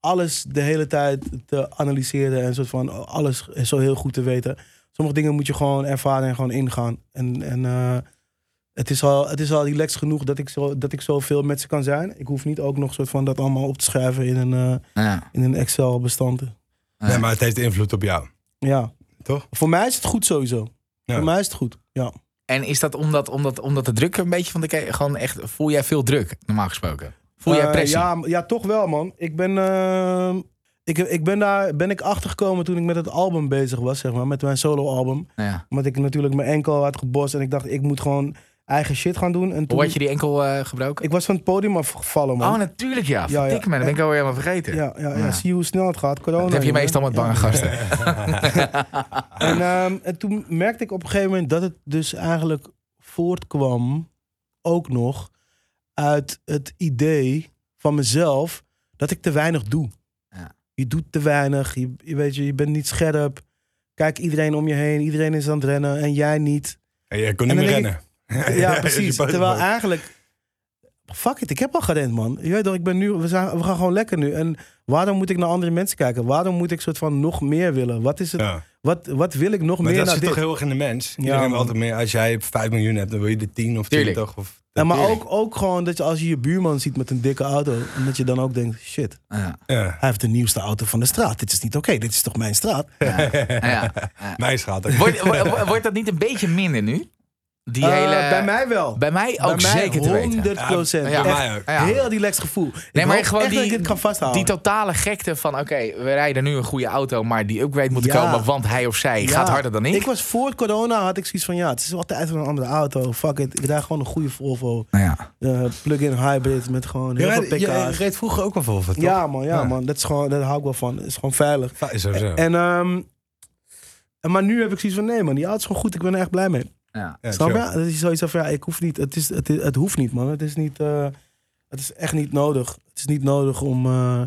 alles de hele tijd te analyseren en soort van alles zo heel goed te weten. Sommige dingen moet je gewoon ervaren en gewoon ingaan. En, en eh, het, is al, het is al relaxed genoeg dat ik, zo, dat ik zoveel met ze kan zijn. Ik hoef niet ook nog soort van dat allemaal op te schrijven in een, eh, Ja. in een Excel-bestand. Nee, maar het heeft invloed op jou. Ja. Toch? Voor mij is het goed sowieso. Ja. Voor mij is het goed. Ja. En is dat omdat, omdat, omdat de druk een beetje van de ke- gewoon echt voel jij veel druk normaal gesproken? Voel jij Eh, pressie? ja, m- ja, toch wel, man. Ik ben, eh, ik, ik ben daar ben ik achtergekomen toen ik met het album bezig was, zeg maar. Met mijn solo-album. Ja. Omdat ik natuurlijk mijn enkel had gebost en ik dacht, ik moet gewoon eigen shit gaan doen. En toen, Hoe had je die enkel eh, gebroken? Ik was van het podium afgevallen, man. Oh, natuurlijk ja. Ja, ja. Verdikke me, dat ben ik alweer helemaal vergeten. ja, ja, ja, Ja. zie je hoe snel het gaat. Corona. dat heb je jongen. meestal met bange gasten. En, ehm, en toen merkte ik op een gegeven moment dat het dus eigenlijk voortkwam, ook nog, uit het idee van mezelf dat ik te weinig doe. Ja. Je doet te weinig, je, je weet je, je bent niet scherp. Kijk iedereen om je heen, iedereen is aan het rennen en jij niet. En jij kon En niet meer dan denk rennen. Ja, Je precies. buik Terwijl omhoog. eigenlijk... Fuck it, ik heb al gerend, man. Je weet toch, ik ben nu... We, zijn, we gaan gewoon lekker nu. En waarom moet ik naar andere mensen kijken? Waarom moet ik soort van nog meer willen? Wat is het... Ja. Wat, wat wil ik nog Maar meer dat naar zit dit? toch heel erg in de mens. Ja, Iedereen wil man. altijd meer. Als jij 5 miljoen hebt, dan wil je de 10 of Tuurlijk. 20 of... En maar Tering. ook, ook gewoon dat je als je je buurman ziet met een dikke auto, en dat je dan ook denkt, shit, Ja. Ja. hij heeft de nieuwste auto van de straat. Dit is niet oké, dit is toch mijn straat? Ja. Mij schat. Wordt, wordt- wordt dat niet een beetje minder nu? Die Eh, hele... bij mij wel. Bij mij Bij ook mij zeker te weten. 100 procent. Ja, bij mij ook. Ja. Heel relaxed gevoel. Nee, ik maar hoop gewoon echt die, dat ik dit kan vasthouden. die totale gekte van... oké, we rijden nu een goede auto, maar die upgrade moet Ja. komen... want hij of zij Ja. gaat harder dan ik. Ik was voor corona, had ik zoiets van, ja, het is wel tijd voor een andere auto. Fuck it, ik draag gewoon een goede Volvo. Nou ja. eh, Plug-in hybrid met gewoon heel veel pk's. reed vroeger ook een Volvo, toch? Ja man, ja, Ja. Eh, man, dat is gewoon, daar hou ik wel van. Het is gewoon veilig. Ja, is sowieso. En, ehm, en maar nu heb ik zoiets van, nee man, die auto is gewoon goed. Ik ben er echt blij mee. Ja. Ja, Snap je? chill. Dat is zoiets van, ja, ik hoef niet. Het, is, het, is- het hoeft niet, man. Het is niet, eh, het is echt niet nodig. Het is niet nodig om, eh,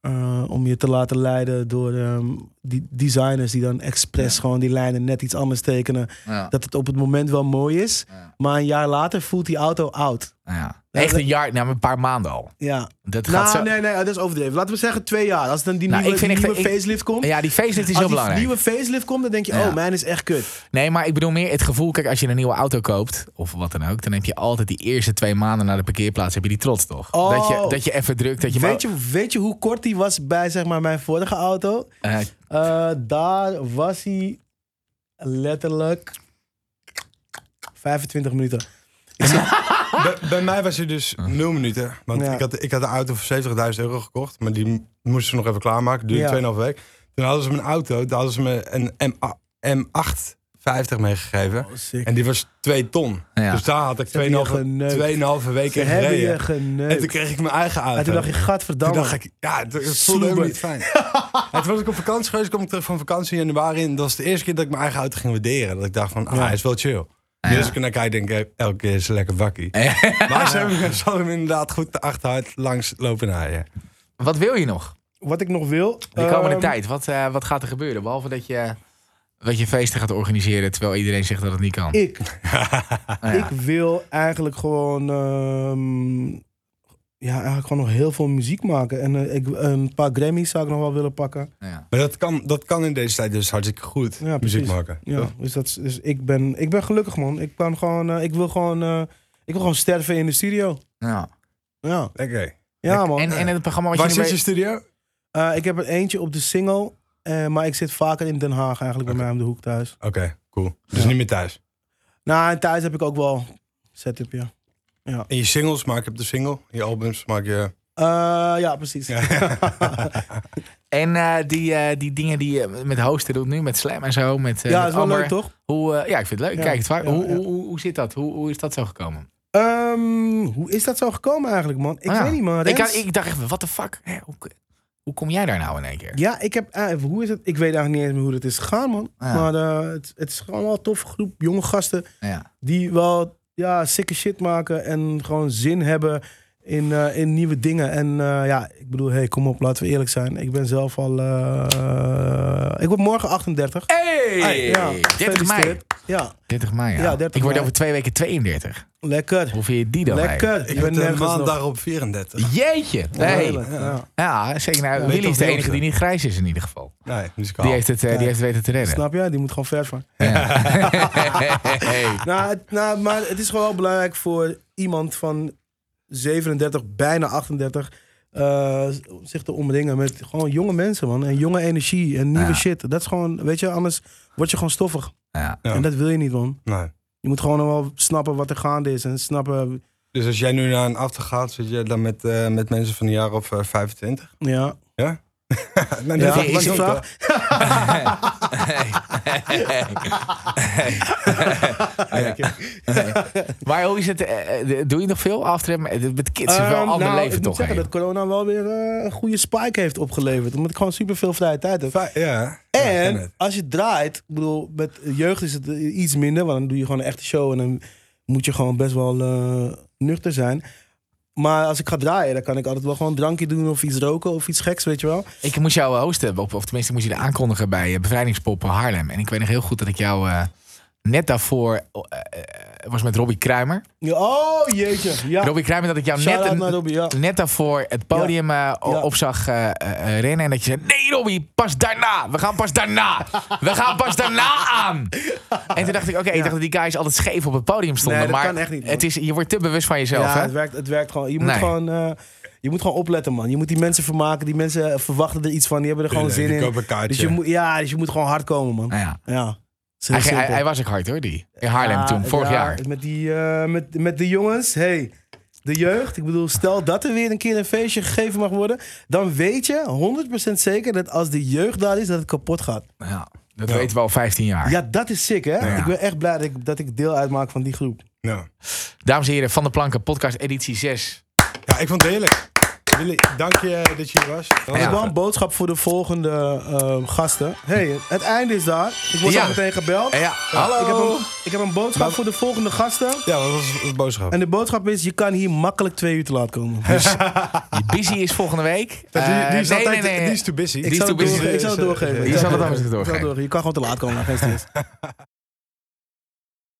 eh, om je te laten leiden door ehm, die designers die dan expres gewoon die lijnen net iets anders tekenen. Ja. Dat het op het moment wel mooi is, Ja. maar een jaar later voelt die auto oud. Ja. Echt een jaar, nou, een paar maanden al. Ja. Dat gaat Nou, zo... nee, nee, dat is overdreven. Laten we zeggen twee jaar. Als dan die Nou, nieuwe, ik vind die echt- nieuwe ik- facelift komt. Ja, die facelift is als heel die belangrijk. nieuwe facelift komt, dan denk je, Ja. oh, mijn is echt kut. Nee, maar ik bedoel meer het gevoel. Kijk, als je een nieuwe auto koopt, of wat dan ook, dan heb je altijd die eerste twee maanden naar de parkeerplaats. Heb je die trots toch? Oh. Dat, je, dat je even drukt. Dat je weet, je, weet je hoe kort die was bij zeg maar, mijn vorige auto? maar- eh, Eh, daar was hij letterlijk 25 minuten. Bij, bij mij was hij dus 0 minuten. Want Ja. ik, had, ik had een auto voor 70.000 euro gekocht. Maar die m- moesten ze nog even klaarmaken. Ja. Duurde 2,5 week. Toen hadden ze me een auto. Toen hadden ze me een M 850 Oh, meegegeven. En die was 2 ton. Ja. Dus daar had ik 2,5 hebben je geneukt. weken Ze in hebben je gereden. En toen geneukt. kreeg ik mijn eigen auto. En toen dacht je, Toen gadverdamme. dacht ik, ja, het, het voelde helemaal Sloeber. niet fijn. en toen was ik op vakantie geweest, kwam ik terug van vakantie in januari. En dat was de eerste keer dat ik mijn eigen auto ging waarderen. Dat ik dacht van, ah, hij is wel chill. Dus als ik er naar kijk, denk ik, elke keer is het lekker wakkie. maar ze hebben, ze hadden hem inderdaad goed de achterhuid langs lopen naaien. wat wil je nog? Wat ik nog wil... De komende ehm, tijd, wat, eh, wat gaat er gebeuren? Behalve dat je, dat je feesten gaat organiseren terwijl iedereen zegt dat het niet kan. Ik, ik wil eigenlijk gewoon... ehm, ja, eigenlijk gewoon nog heel veel muziek maken. En eh, ik, een paar Grammys zou ik nog wel willen pakken. Ja. Maar dat kan, dat kan in deze tijd dus hartstikke goed, Ja, muziek precies. maken. Ja, toch? dus, dat, is- dus ik, ben, ik ben gelukkig, man. Ik, kan gewoon, eh, ik, wil gewoon, eh, ik wil gewoon sterven in de studio. Ja. Ja, Lekker. ja man. En, en het programma wat Waar je nu zit je weet- studio? Eh, ik heb er eentje op de single, eh, maar ik zit vaker in Den Haag eigenlijk bij mij om de hoek thuis. Oké, cool. Dus niet meer thuis. Nou, en thuis heb ik ook wel setup, ja. En je singles maak je op de single. Je albums maak je... Eh, ja, precies. Ja, En eh, die, eh, die dingen die je met hosten doet nu, met Slam en zo, met, eh met dat is wel Amber. leuk, toch? Hoe, eh, ja, ik vind het leuk. Ja, Kijk, het vaak. ja, hoe, ja. Hoe, hoe, hoe zit dat? Hoe, hoe is dat zo gekomen? Ehm, hoe is dat zo gekomen eigenlijk, man? Ik Ah, ja. weet niet, man. Ik, Rens- had- ik dacht even, wat de fuck? Hè, hoe, hoe kom jij daar nou in één keer? Ja, ik heb... eh, hoe is het? Ik weet eigenlijk niet eens meer hoe dat is gegaan, man. Ah Ja. Maar eh, het, het is gewoon wel een toffe groep jonge gasten Ja. die wel ja, sikke shit maken en gewoon zin hebben in, eh, in nieuwe dingen. En eh, ja, ik bedoel, hey, kom op, laten we eerlijk zijn. Ik ben zelf al... eh, ik word morgen 38. Hey! Ja, 30 mei. gefeliciteerd. Ja, 30 mei, ja. Ja, 30 ik word mei. over twee weken 32. lekker. Hoe vind je die dan? eigenlijk? Lekker. Ik ben nergens maandag nog. op 34. Jeetje. Nee. Heerlijk, ja. Ja, zeker. Nou, Ja, weet Willy toch is de niet enige of die niet grijs is in ieder geval. Nee, muzikaal. Die heeft het, eh, die heeft het weten te redden. Snap je? Die moet gewoon ver van. Ja. Hey. Nou, het- nou, maar het is gewoon wel belangrijk voor iemand van 37, bijna 38, eh, om zich te omringen met gewoon jonge mensen, man. En jonge energie en nieuwe Ja. shit. Dat is gewoon, weet je, anders word je gewoon stoffig. Ja. Ja. En dat wil je niet, man. Nee. Je moet gewoon wel snappen wat er gaande is en snappen, Dus als jij nu naar een after gaat, zit je dan met, eh, met mensen van een jaar of eh, Nou, 25? ja. Nee, Ja, is- wat is- je vraagt? Maar hoe is het? eh, eh, Doe je nog veel after? Met kids is wel Ehm, een ander nou, leven ik toch? moet zeggen hè? dat corona wel weer eh, een goede spike heeft opgeleverd. Omdat ik gewoon superveel vrije tijd heb. Va- ja. Ja, ik ken En het. als je draait, ik bedoel, met jeugd is het eh, iets minder, want dan doe je gewoon een echte show en dan moet je gewoon best wel eh, nuchter zijn. Maar als ik ga draaien, dan kan ik altijd wel gewoon een drankje doen of iets roken of iets geks, weet je wel. Ik moest jou eh, hosten, of, of tenminste ik moest je aankondigen bij eh, Bevrijdingspoppen Haarlem. En ik weet nog heel goed dat ik jou eh, net daarvoor eh, eh, was met Robbie Kruimer. Ja, oh, jeetje. Ja. Robbie Kruimer, dat ik jou net, Shout-out een- naar Robbie, ja. net daarvoor het podium eh, o- Ja. op zag eh, eh, eh, rennen. En dat je zei, nee Robbie, pas daarna. We gaan pas daarna. We gaan pas daarna aan. En toen dacht ik, oké, ik dacht dat die guys altijd scheef op het podium stonden. Nee, dat maar kan echt niet, man. het is, je wordt te bewust van jezelf, Ja, hè? het werkt, het werkt gewoon. Je moet, Nee. gewoon eh, je moet gewoon opletten, man. Je moet die mensen vermaken. Die mensen verwachten er iets van. Die hebben er gewoon Tuurlijk, die zin in. kopen een kaartje. Dus je moet, ja, dus je moet gewoon hard komen, man. Nou ja. Ja. Het is heel Hij, hij, simpel. hij was ik hard hoor, die. In Haarlem Ja, toen, vorig Ah, ja, jaar. Met, die, eh, met, met de jongens, hey, de jeugd. Ik bedoel, stel dat er weer een keer een feestje gegeven mag worden. Dan weet je 100% zeker dat als de jeugd daar is, dat het kapot gaat. Ja, dat weten we al 15 jaar. Ja, dat is sick, hè? Ja. Ik ben echt blij dat ik, dat ik deel uitmaak van die groep. Ja. Dames en heren, Van de Planken, podcast editie 6. ja, ik vond het heerlijk. Willy, dank je eh, dat je hier was. Ik Ja. heb wel een boodschap voor de volgende eh, gasten. hey, het einde is daar. Ik word Ja. al meteen gebeld. En ja, hallo. Ik, heb een, ik heb een boodschap voor de volgende gasten. Ja, wat was de boodschap? En de boodschap is, je kan hier makkelijk twee uur te laat komen. Busy is volgende week. Die, Eh, die is nee, altijd, nee, nee. die is too busy. Die ik, zal is too het busy. doorge- ik zal het doorgeven. Die zal het Ja. anders Ik zal het doorgeven. Je kan gewoon te laat komen, maar geen stress.